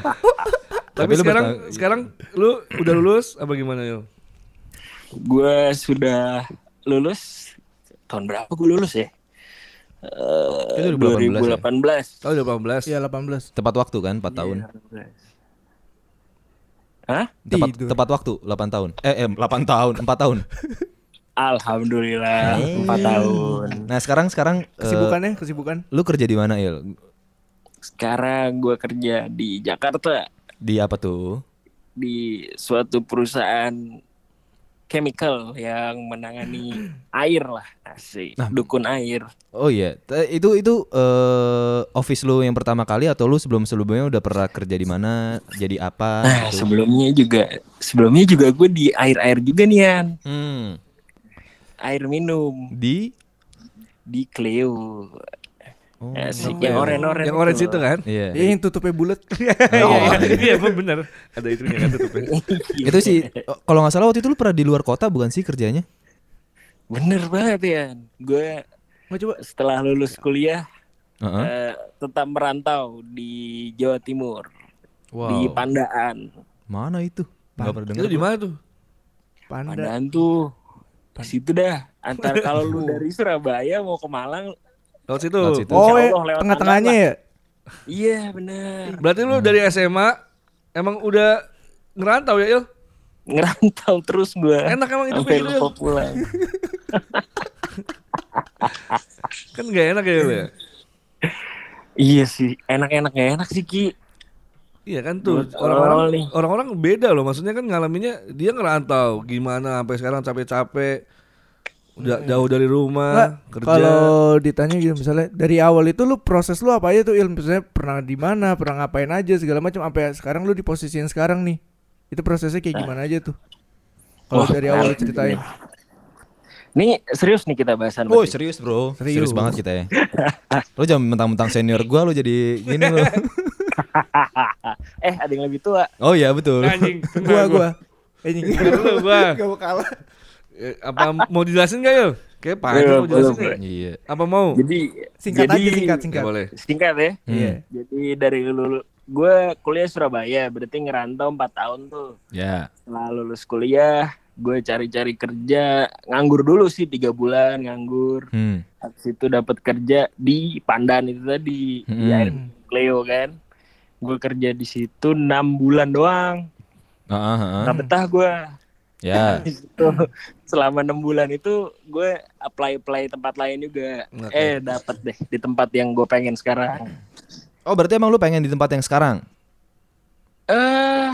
Speaker 3: Tapi
Speaker 4: Tapi lu
Speaker 3: sekarang
Speaker 4: bertang-
Speaker 3: sekarang lu udah lulus apa gimana yo?
Speaker 1: Oh. Gua sudah lulus tahun berapa gua lulus ya? Eh,
Speaker 4: Kayaknya 2018 ya?
Speaker 1: 2018.
Speaker 3: Tahun 18.
Speaker 5: Ya 18.
Speaker 4: Tepat waktu kan, 4 tahun.
Speaker 1: 2018. Hah?
Speaker 4: Tepat,
Speaker 5: Tidur.
Speaker 4: tepat waktu, 8 tahun. Eh, eh 8 tahun, 4 tahun.
Speaker 1: Alhamdulillah, empat tahun.
Speaker 4: Nah, sekarang sekarang eh,
Speaker 5: Kesibukannya, kesibukan.
Speaker 4: lu kerja di mana, Il?
Speaker 1: Sekarang gue kerja di Jakarta
Speaker 4: Di apa tuh?
Speaker 1: di suatu perusahaan chemical yang menangani air lah asik dukun air
Speaker 4: Oh iya, T- itu itu eh, office lu yang pertama kali atau lu sebelum sebelumnya udah pernah kerja di mana, jadi apa?
Speaker 1: nah
Speaker 4: gitu?
Speaker 1: sebelumnya juga sebelumnya juga gue di air air juga nih Yan.
Speaker 4: Hmm,
Speaker 1: air minum
Speaker 4: di
Speaker 1: di Cleo
Speaker 4: Oh.
Speaker 1: asik yang oren oren
Speaker 3: Yang orange itu kan?
Speaker 4: Iya.
Speaker 5: Iya, yang tutupnya bulat.
Speaker 3: Iya, iya, iya, benar. Ada itunya kan tutupnya.
Speaker 4: Itu sih o- kalau nggak salah waktu itu lu pernah di luar kota bukan sih kerjanya?
Speaker 1: bener banget ya gue
Speaker 5: Mau coba
Speaker 1: setelah lulus kuliah
Speaker 4: Heeh.
Speaker 1: eh, tetap merantau di Jawa Timur
Speaker 4: Wow.
Speaker 1: di Pandaan
Speaker 4: Mana itu? Enggak pernah dengar.
Speaker 3: Itu di mana tuh?
Speaker 5: panda.
Speaker 1: Pandaan tuh di situ dah antara kalau lu dari Surabaya mau ke Malang
Speaker 3: Lewat situ.
Speaker 4: Lewat situ.
Speaker 5: Oh,
Speaker 1: Insya
Speaker 5: ya,
Speaker 1: Allah lewat
Speaker 5: tengah-tengahnya ya?
Speaker 1: iya bener
Speaker 3: Berarti lu dari SMA emang udah ngerantau ya, Il?
Speaker 1: ngerantau terus gue
Speaker 3: Enak emang hidupnya
Speaker 1: sampai
Speaker 3: gitu,
Speaker 1: lupa
Speaker 3: Il.
Speaker 1: pulang
Speaker 3: Kan gak enak ya, Il ya?
Speaker 1: iya sih enak-enak gak enak sih Ki
Speaker 3: Iya kan tuh
Speaker 1: Buat awal nih.
Speaker 3: orang-orang orang-orang beda loh maksudnya kan ngalaminnya dia ngerantau gimana sampai sekarang capek-capek udah jauh dari
Speaker 5: Nggak,
Speaker 3: rumah Ah, kerja
Speaker 5: Kalau ditanya gitu misalnya dari awal itu lu proses lu apa aja tuh ilmu misalnya pernah di mana, pernah ngapain aja segala macam sampai sekarang lu di posisi yang sekarang nih. Itu prosesnya kayak gimana aja tuh? Kalau
Speaker 1: Wah,
Speaker 5: dari awal lu
Speaker 1: menarik.
Speaker 5: ceritain.
Speaker 1: Nih serius nih kita bahasan
Speaker 4: Oh
Speaker 1: berarti.
Speaker 4: serius bro, serius,
Speaker 5: Serius.
Speaker 4: banget kita ya. lu jangan mentang-mentang senior gua lu jadi gini lu.
Speaker 1: Eh ada yang lebih tua
Speaker 4: Oh iya betul.
Speaker 3: anjing
Speaker 5: Gua gua. Eh, nying.
Speaker 3: Lu, gua.
Speaker 5: Gak mau kalah.
Speaker 3: Eh, apa mau dijelasin gak Il? Kayak panjang
Speaker 1: Belum,
Speaker 3: mau jelasin
Speaker 1: belum,
Speaker 3: nggak?
Speaker 4: Iya.
Speaker 3: Apa mau?
Speaker 1: Iya, Jadi
Speaker 5: Singkat
Speaker 1: jadi,
Speaker 5: aja singkat singkat.
Speaker 3: Nggak boleh.
Speaker 1: Singkat ya
Speaker 4: Hmm.
Speaker 5: Iya.
Speaker 1: Jadi dari lulu Gue kuliah Surabaya Berarti ngerantau 4 tahun tuh
Speaker 4: Ya.
Speaker 1: Setelah lulus kuliah Gue cari-cari kerja Nganggur dulu sih tiga bulan nganggur
Speaker 4: Hmm.
Speaker 1: Habis itu dapat kerja di Pandan itu tadi Di
Speaker 4: Hmm.
Speaker 1: air Cleo kan Gue kerja di situ enam bulan doang
Speaker 4: Ah, ah, ah.
Speaker 1: Gak betah gue
Speaker 4: Ya.
Speaker 1: Di situ. Selama enam bulan itu Gue apply-apply tempat lain juga
Speaker 3: Oke.
Speaker 1: Eh dapat deh Di tempat yang gue pengen sekarang
Speaker 4: Oh berarti emang lu pengen di tempat yang sekarang?
Speaker 1: Eh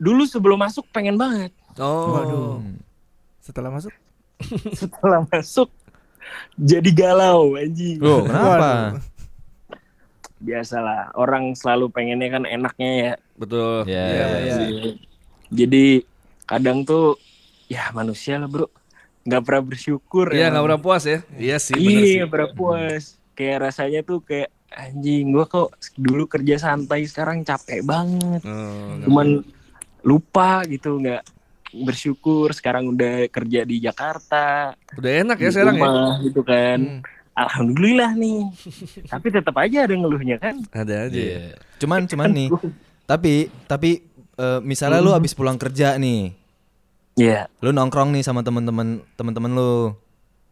Speaker 1: Dulu sebelum masuk pengen banget
Speaker 3: Oh.
Speaker 5: Waduh.
Speaker 4: Hmm.
Speaker 5: Setelah masuk.
Speaker 1: setelah masuk jadi galau anjing
Speaker 4: Loh, kenapa?
Speaker 5: Waduh.
Speaker 1: biasalah orang selalu pengennya kan enaknya ya
Speaker 3: Betul.
Speaker 4: Ya.
Speaker 5: Iya, iya.
Speaker 1: jadi kadang tuh ya manusia lah bro nggak pernah bersyukur
Speaker 3: Iya nggak pernah
Speaker 1: emang.
Speaker 3: puas ya? Iya sih bener
Speaker 1: iya
Speaker 3: sih.
Speaker 1: nggak pernah puas kayak rasanya tuh kayak anjing gua kok dulu kerja santai sekarang capek banget
Speaker 3: Oh, nggak-
Speaker 1: cuman lupa gitu nggak bersyukur sekarang udah kerja di Jakarta
Speaker 3: udah enak ya
Speaker 1: di
Speaker 3: sekarang ya?
Speaker 1: rumah gitu kan
Speaker 5: Hmm.
Speaker 1: alhamdulillah nih tapi tetap aja ada ngeluhnya kan
Speaker 3: Ada aja.
Speaker 4: Iya. Cuman cuman nih. Tapi tapi eh, misalnya lu habis pulang kerja nih,
Speaker 1: iya
Speaker 4: lu nongkrong nih sama temen-temen temen-temen lu.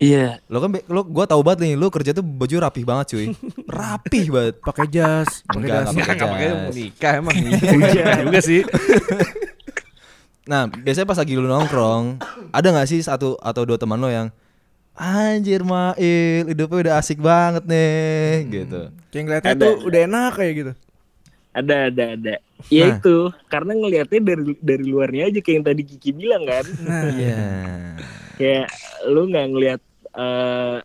Speaker 1: iya
Speaker 4: Lu kan be- lu gua tau banget nih, lu kerja tuh baju rapih banget cuy. rapih banget.
Speaker 5: Pakai jas, pakai
Speaker 4: Enggak,
Speaker 5: jas.
Speaker 4: enggak.
Speaker 3: Nggak pakai
Speaker 4: Jas.
Speaker 3: nikah emang. Iya juga sih.
Speaker 4: Nah, biasanya pas lagi lu nongkrong, ada nggak sih satu atau dua teman lo yang anjir Mail, hidupnya udah asik banget nih gitu.
Speaker 5: Kayak ngeliatnya
Speaker 1: Ada.
Speaker 5: tuh udah enak kayak gitu.
Speaker 1: ada ada
Speaker 3: Nah.
Speaker 1: ada ya itu karena ngelihatnya dari dari luarnya aja kayak yang tadi Kiki bilang kan
Speaker 3: Nah.
Speaker 4: Iya.
Speaker 1: kayak lu nggak ngelihat eh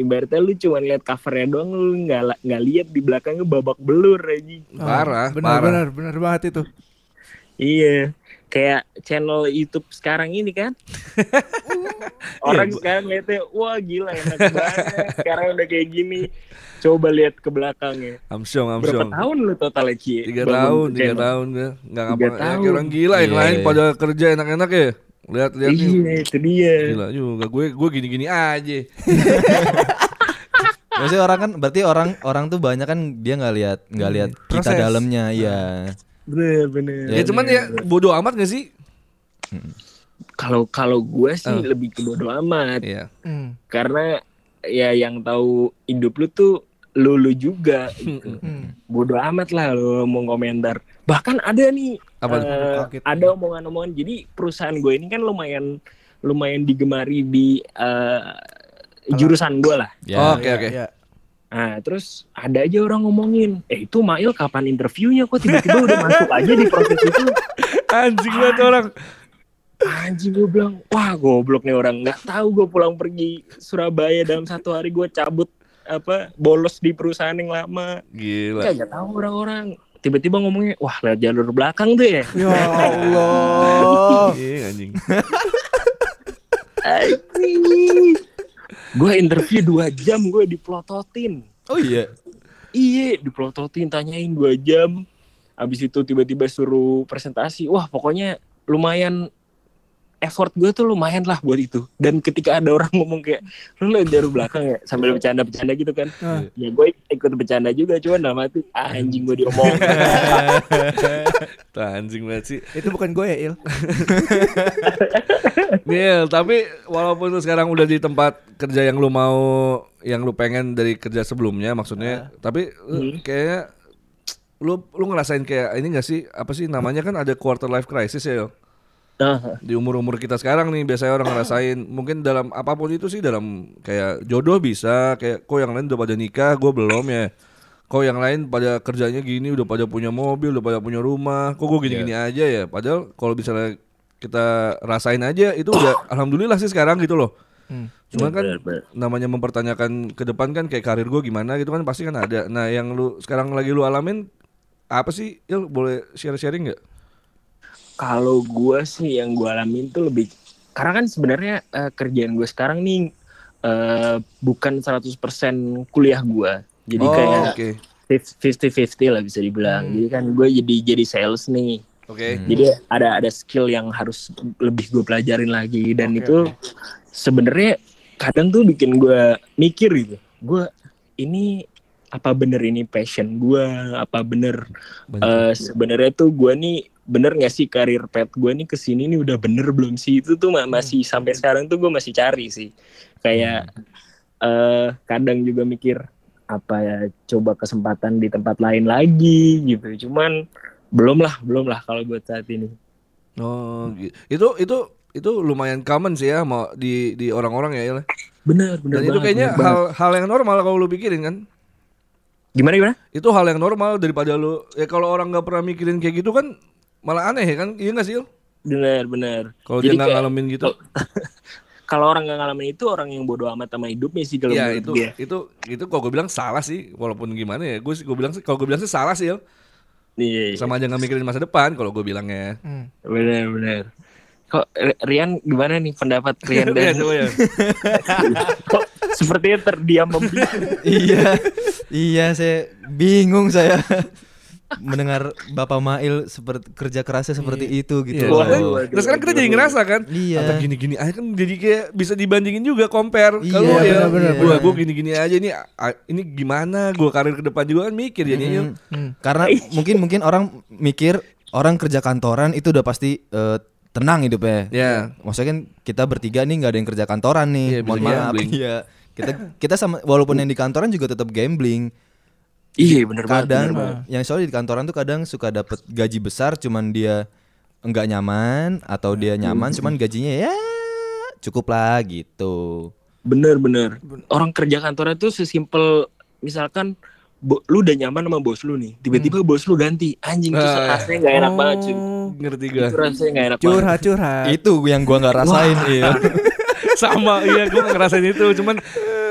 Speaker 1: ibaratnya lu cuma lihat covernya doang lu nggak la- nggak lihat di belakangnya babak belur aja
Speaker 5: Ah,
Speaker 3: Parah,
Speaker 5: bener,
Speaker 3: parah.
Speaker 5: Bener, bener banget itu.
Speaker 1: iya kayak channel YouTube sekarang ini kan
Speaker 3: Iya,
Speaker 1: orang sekarang lihatnya wah gila enak banget sekarang udah kayak gini coba lihat ke belakangnya
Speaker 3: Amsyong,
Speaker 1: berapa
Speaker 3: amsyong.
Speaker 1: tahun lu total Ki?
Speaker 3: tiga
Speaker 1: bangun
Speaker 3: tahun tiga
Speaker 1: channel?
Speaker 3: tahun gue nggak
Speaker 1: Tiga
Speaker 3: ngapa ya,
Speaker 1: tahun.
Speaker 3: kayak orang gila yang
Speaker 4: Iya,
Speaker 3: lain
Speaker 4: iya.
Speaker 3: pada kerja enak-enak ya lihat lihat nih
Speaker 1: Iya, itu dia.
Speaker 3: gila juga gue gue gini-gini aja
Speaker 4: Maksudnya orang kan berarti orang orang tuh banyak kan dia nggak lihat nggak lihat kita
Speaker 5: proses.
Speaker 4: dalamnya, iya.
Speaker 1: Bener, bener.
Speaker 3: ya cuman ya
Speaker 1: iya.
Speaker 3: bodoh amat gak sih
Speaker 1: Kalau kalau gue sih lebih ke bodo amat
Speaker 3: Ah. iya
Speaker 5: Hmm.
Speaker 1: karena ya yang tahu hidup lu tuh lu lu juga gitu.
Speaker 5: Hmm.
Speaker 1: bodo amat lah lu mau komentar. Bahkan ada nih
Speaker 3: Apa tuh?
Speaker 1: eh,
Speaker 5: Kaget.
Speaker 1: ada omongan-omongan. Jadi perusahaan gue ini kan lumayan lumayan digemari di eh, jurusan gue lah.
Speaker 4: Ya.
Speaker 3: oke oke
Speaker 5: Ya.
Speaker 1: Nah, terus ada aja orang ngomongin, eh itu Mail kapan interviewnya kok tiba-tiba udah masuk aja di proses itu.
Speaker 3: anjing banget orang
Speaker 1: Anjing gue bilang, wah goblok nih orang nggak tahu gue pulang pergi Surabaya dalam satu hari gue cabut apa bolos di perusahaan yang lama.
Speaker 3: Gila.
Speaker 1: Kagak tahu orang-orang. Tiba-tiba ngomongnya, wah lewat jalur belakang tuh ya.
Speaker 5: Ya
Speaker 4: gitu.
Speaker 5: Allah.
Speaker 3: Iya anjing.
Speaker 1: Anjing. gue interview dua jam gue dipelototin.
Speaker 4: Oh iya.
Speaker 1: Iya, dipelototin, tanyain dua jam. Abis itu tiba-tiba suruh presentasi. Wah, pokoknya lumayan effort gue tuh lumayan lah buat itu. Dan ketika ada orang ngomong kayak, lu liat jarum belakang ya? Sambil bercanda-bercanda gitu kan.
Speaker 5: Ah.
Speaker 1: Ya gue ikut bercanda juga, cuman dalam hati, ah anjing gue diomong.
Speaker 3: Tah, anjing banget sih.
Speaker 5: Itu bukan gue ya, Il.
Speaker 3: Nil, tapi walaupun lu sekarang udah di tempat kerja yang lu mau, yang lu pengen dari kerja sebelumnya maksudnya, tapi lu kayaknya lu lu ngerasain kayak ini gak sih apa sih namanya kan ada quarter life crisis ya Yul?
Speaker 1: Nah,
Speaker 3: di umur umur kita sekarang nih biasanya orang ngerasain mungkin dalam apapun itu sih dalam kayak jodoh bisa kayak kok yang lain udah pada nikah gue belum ya kok yang lain pada kerjanya gini udah pada punya mobil udah pada punya rumah kok gue gini gini aja ya padahal kalau misalnya kita rasain aja itu udah alhamdulillah sih sekarang gitu loh cuman kan
Speaker 1: bener.
Speaker 3: namanya mempertanyakan ke depan kan kayak karir gue gimana gitu kan pasti kan ada nah yang lu sekarang lagi lu alamin apa sih Il boleh share sharing nggak
Speaker 1: kalau gue sih yang gue alamin tuh lebih karena kan sebenarnya eh, kerjaan gue sekarang nih eh, bukan 100% kuliah gue. Jadi
Speaker 3: oh
Speaker 1: kayak
Speaker 3: oke
Speaker 1: 50-50 lah bisa dibilang. Jadi kan gue jadi jadi sales nih.
Speaker 3: oke
Speaker 4: Hmm.
Speaker 1: Jadi ada ada skill yang harus lebih gue pelajarin lagi dan itu sebenarnya kadang tuh bikin gue mikir gitu. Gue ini apa bener ini passion gue? Apa bener
Speaker 4: Hmm.
Speaker 1: eh,
Speaker 3: Iya.
Speaker 1: sebenarnya tuh gue nih bener gak sih karir pet gue nih kesini nih udah bener belum sih itu tuh ma- masih
Speaker 3: Hmm.
Speaker 1: sampai sekarang tuh gue masih cari sih kayak
Speaker 3: Hmm.
Speaker 1: eh kadang juga mikir apa ya coba kesempatan di tempat lain lagi gitu cuman belum lah belum lah kalau buat saat ini
Speaker 3: Oh, gi- itu itu itu lumayan common sih ya mau di di orang-orang ya. Il.
Speaker 1: bener
Speaker 3: Dan
Speaker 1: bener
Speaker 3: itu
Speaker 1: banget,
Speaker 3: kayaknya
Speaker 1: bener banget.
Speaker 3: hal hal yang normal kalau lu pikirin kan.
Speaker 1: gimana gimana
Speaker 3: Itu hal yang normal daripada lu ya kalau orang nggak pernah mikirin kayak gitu kan malah aneh ya kan? Iya nggak sih? Il?
Speaker 1: bener bener
Speaker 3: Kalau dia
Speaker 1: Jadi
Speaker 3: nggak
Speaker 1: kayak- oh,
Speaker 3: ngalamin gitu.
Speaker 1: kalau orang nggak ngalamin itu orang yang bodoh amat sama hidupnya sih kalau
Speaker 3: Iya
Speaker 1: menurut
Speaker 3: itu,
Speaker 1: gue.
Speaker 3: itu itu kalau gue bilang salah sih walaupun gimana ya gue gue bilang sih kalau gue bilang sih salah sih Il.
Speaker 1: Iya, iya.
Speaker 3: sama aja nggak mikirin masa depan kalau gue bilangnya
Speaker 5: Hmm.
Speaker 1: bener bener kok R- Rian gimana nih pendapat Rian dan
Speaker 3: ya.
Speaker 1: kok sepertinya terdiam membisu
Speaker 4: iya. Iya, saya bingung saya mendengar Bapak Mail seperti kerja kerasnya seperti itu
Speaker 3: Iya.
Speaker 4: gitu.
Speaker 1: Wah,
Speaker 4: loh.
Speaker 1: wah.
Speaker 3: Terus Nah, sekarang kita jadi ngerasa kan
Speaker 4: Iya.
Speaker 3: Atau gini-gini aja kan jadi kayak bisa dibandingin juga compare
Speaker 4: Iya,
Speaker 3: Kalau ya
Speaker 4: benar-benar,
Speaker 3: gua
Speaker 4: benar.
Speaker 3: gua gini-gini aja ini a- ini gimana gua karir ke depan juga kan mikir jadinya
Speaker 4: Mm, Karena mungkin mungkin orang mikir orang kerja kantoran itu udah pasti eh, tenang hidupnya.
Speaker 3: Ya.
Speaker 4: Maksudnya kan kita bertiga nih nggak ada yang kerja kantoran nih.
Speaker 3: Iya, bisa
Speaker 4: Mohon maaf.
Speaker 3: gambling.
Speaker 4: Iya. Kita kita sama walaupun yang di kantoran juga tetap gambling.
Speaker 1: iya bener banget
Speaker 4: kadang
Speaker 1: bener banget.
Speaker 4: yang soalnya di kantoran tuh kadang suka dapet gaji besar cuman dia enggak nyaman atau dia nyaman cuman gajinya ya cukup lah gitu.
Speaker 1: Bener bener. Orang kerja kantornya tuh sesimpel misalkan bo- lu udah nyaman sama bos lu nih, tiba-tiba bos lu ganti, anjing tuh
Speaker 3: Ah.
Speaker 1: rasanya nggak enak banget cuy.
Speaker 3: ngerti gua
Speaker 1: Itu rasanya nggak enak banget.
Speaker 5: Curhat,
Speaker 3: Iya.
Speaker 5: curhat.
Speaker 4: Itu yang gua nggak rasain iya.
Speaker 3: sama iya gua ngerasain itu cuman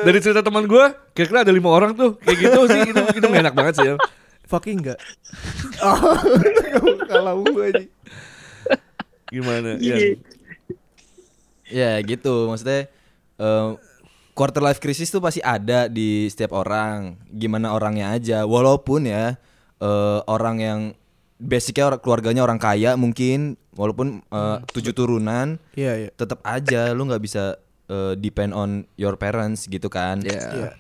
Speaker 3: dari cerita teman gua kira-kira ada lima orang tuh kayak gitu sih itu itu nggak enak banget sih ya.
Speaker 5: Fucking enggak. Oh, kalau gue aja.
Speaker 3: gimana
Speaker 1: Iya.
Speaker 3: ya
Speaker 4: Ya gitu maksudnya eh, quarter life crisis tuh pasti ada di setiap orang. Gimana orangnya aja. Walaupun ya eh, orang yang basicnya orang keluarganya orang kaya mungkin walaupun eh, tujuh turunan
Speaker 5: Hmm. Iya, iya.
Speaker 4: tetap aja lu nggak bisa eh, depend on your parents gitu kan.
Speaker 3: Ah.
Speaker 5: Iya.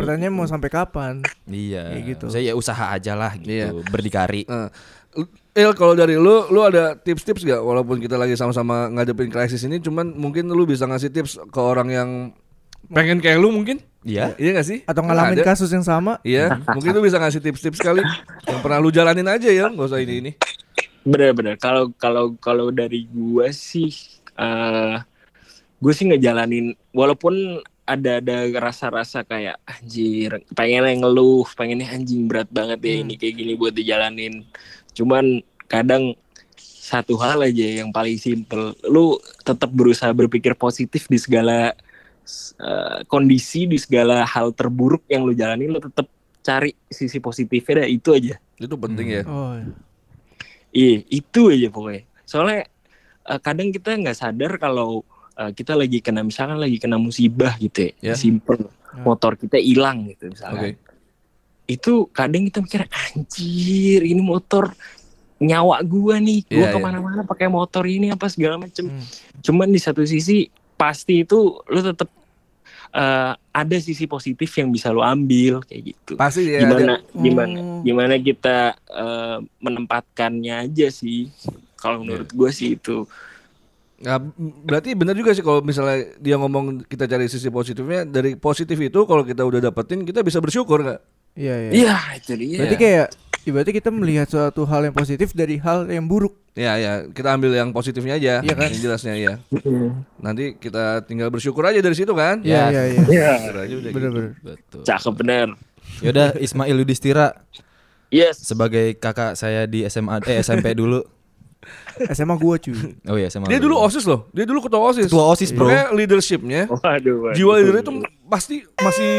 Speaker 5: Pertanyaannya mau sampai kapan?
Speaker 4: Iya.
Speaker 5: Kayak gitu. Iya. Eh,
Speaker 4: Saya ya usaha aja lah gitu, berdikari.
Speaker 3: Nah, lu- Il kalau dari lu, lu ada tips-tips gak? Walaupun kita lagi sama-sama ngadepin krisis ini, cuman mungkin lu bisa ngasih tips ke orang yang pengen kayak lu mungkin?
Speaker 4: Iya.
Speaker 3: Iya gak sih?
Speaker 5: Atau
Speaker 3: Kan
Speaker 5: ngalamin
Speaker 3: ada.
Speaker 5: kasus yang sama?
Speaker 3: Iya, mungkin lu bisa ngasih tips-tips kali yang pernah lu jalanin aja ya, nggak usah ini ini.
Speaker 1: Bener bener. Kalau kalau kalau dari gua sih, eh gue sih ngejalanin walaupun ada ada rasa-rasa kayak anjir pengennya ngeluh pengennya anjing berat banget ya ini kayak gini buat dijalanin cuman kadang satu hal aja yang paling simple lu tetap berusaha berpikir positif di segala eh, kondisi di segala hal terburuk yang lu jalani lu tetap cari sisi positifnya dah itu aja
Speaker 3: Itu penting ya.
Speaker 5: Oh, iya.
Speaker 1: Iya, itu aja pokoknya. Soalnya eh, kadang kita nggak sadar kalau eh, kita lagi kena misalkan lagi kena musibah gitu ya,
Speaker 3: Ya.
Speaker 1: simple.
Speaker 5: Ya.
Speaker 1: Motor kita hilang gitu misalnya.
Speaker 3: Oke.
Speaker 1: Itu kadang kita mikir anjir, ini motor nyawa gua nih. Gua
Speaker 3: Iya, iya.
Speaker 1: kemana-mana pakai motor ini apa segala macem.
Speaker 5: Hmm.
Speaker 1: Cuman di satu sisi pasti itu lu tetap eh, ada sisi positif yang bisa lu ambil kayak gitu
Speaker 3: Pasti ya
Speaker 1: gimana
Speaker 3: ada.
Speaker 1: gimana
Speaker 5: Hmm.
Speaker 1: gimana kita eh, menempatkannya aja sih kalau menurut gue sih itu
Speaker 3: Nah, berarti benar juga sih kalau misalnya dia ngomong kita cari sisi positifnya dari positif itu kalau kita udah dapetin kita bisa bersyukur nggak?
Speaker 5: Iya, iya.
Speaker 1: iya itu dia
Speaker 5: Berarti kayak ya berarti kita melihat suatu hal yang positif dari hal yang buruk.
Speaker 3: Ya ya kita ambil yang positifnya aja.
Speaker 5: Iya kan?
Speaker 3: Yang jelasnya ya. Nanti kita tinggal bersyukur aja dari situ kan?
Speaker 4: Ya.
Speaker 5: iya, iya.
Speaker 3: Bersyukur aja udah gitu.
Speaker 5: Bener, bener.
Speaker 4: Betul.
Speaker 1: cakep bener
Speaker 4: Yaudah Ya Ismail Yudhistira
Speaker 1: yes
Speaker 4: sebagai kakak saya di SMA eh SMP dulu.
Speaker 5: SMA gua cuy.
Speaker 4: Oh iya SMA.
Speaker 3: Dia dulu OSIS loh. Dia dulu ketua OSIS.
Speaker 4: Ketua OSIS,
Speaker 5: Iya.
Speaker 4: bro.
Speaker 3: Makanya leadershipnya,
Speaker 1: Oh, waduh, waduh.
Speaker 3: jiwa leader itu pasti masih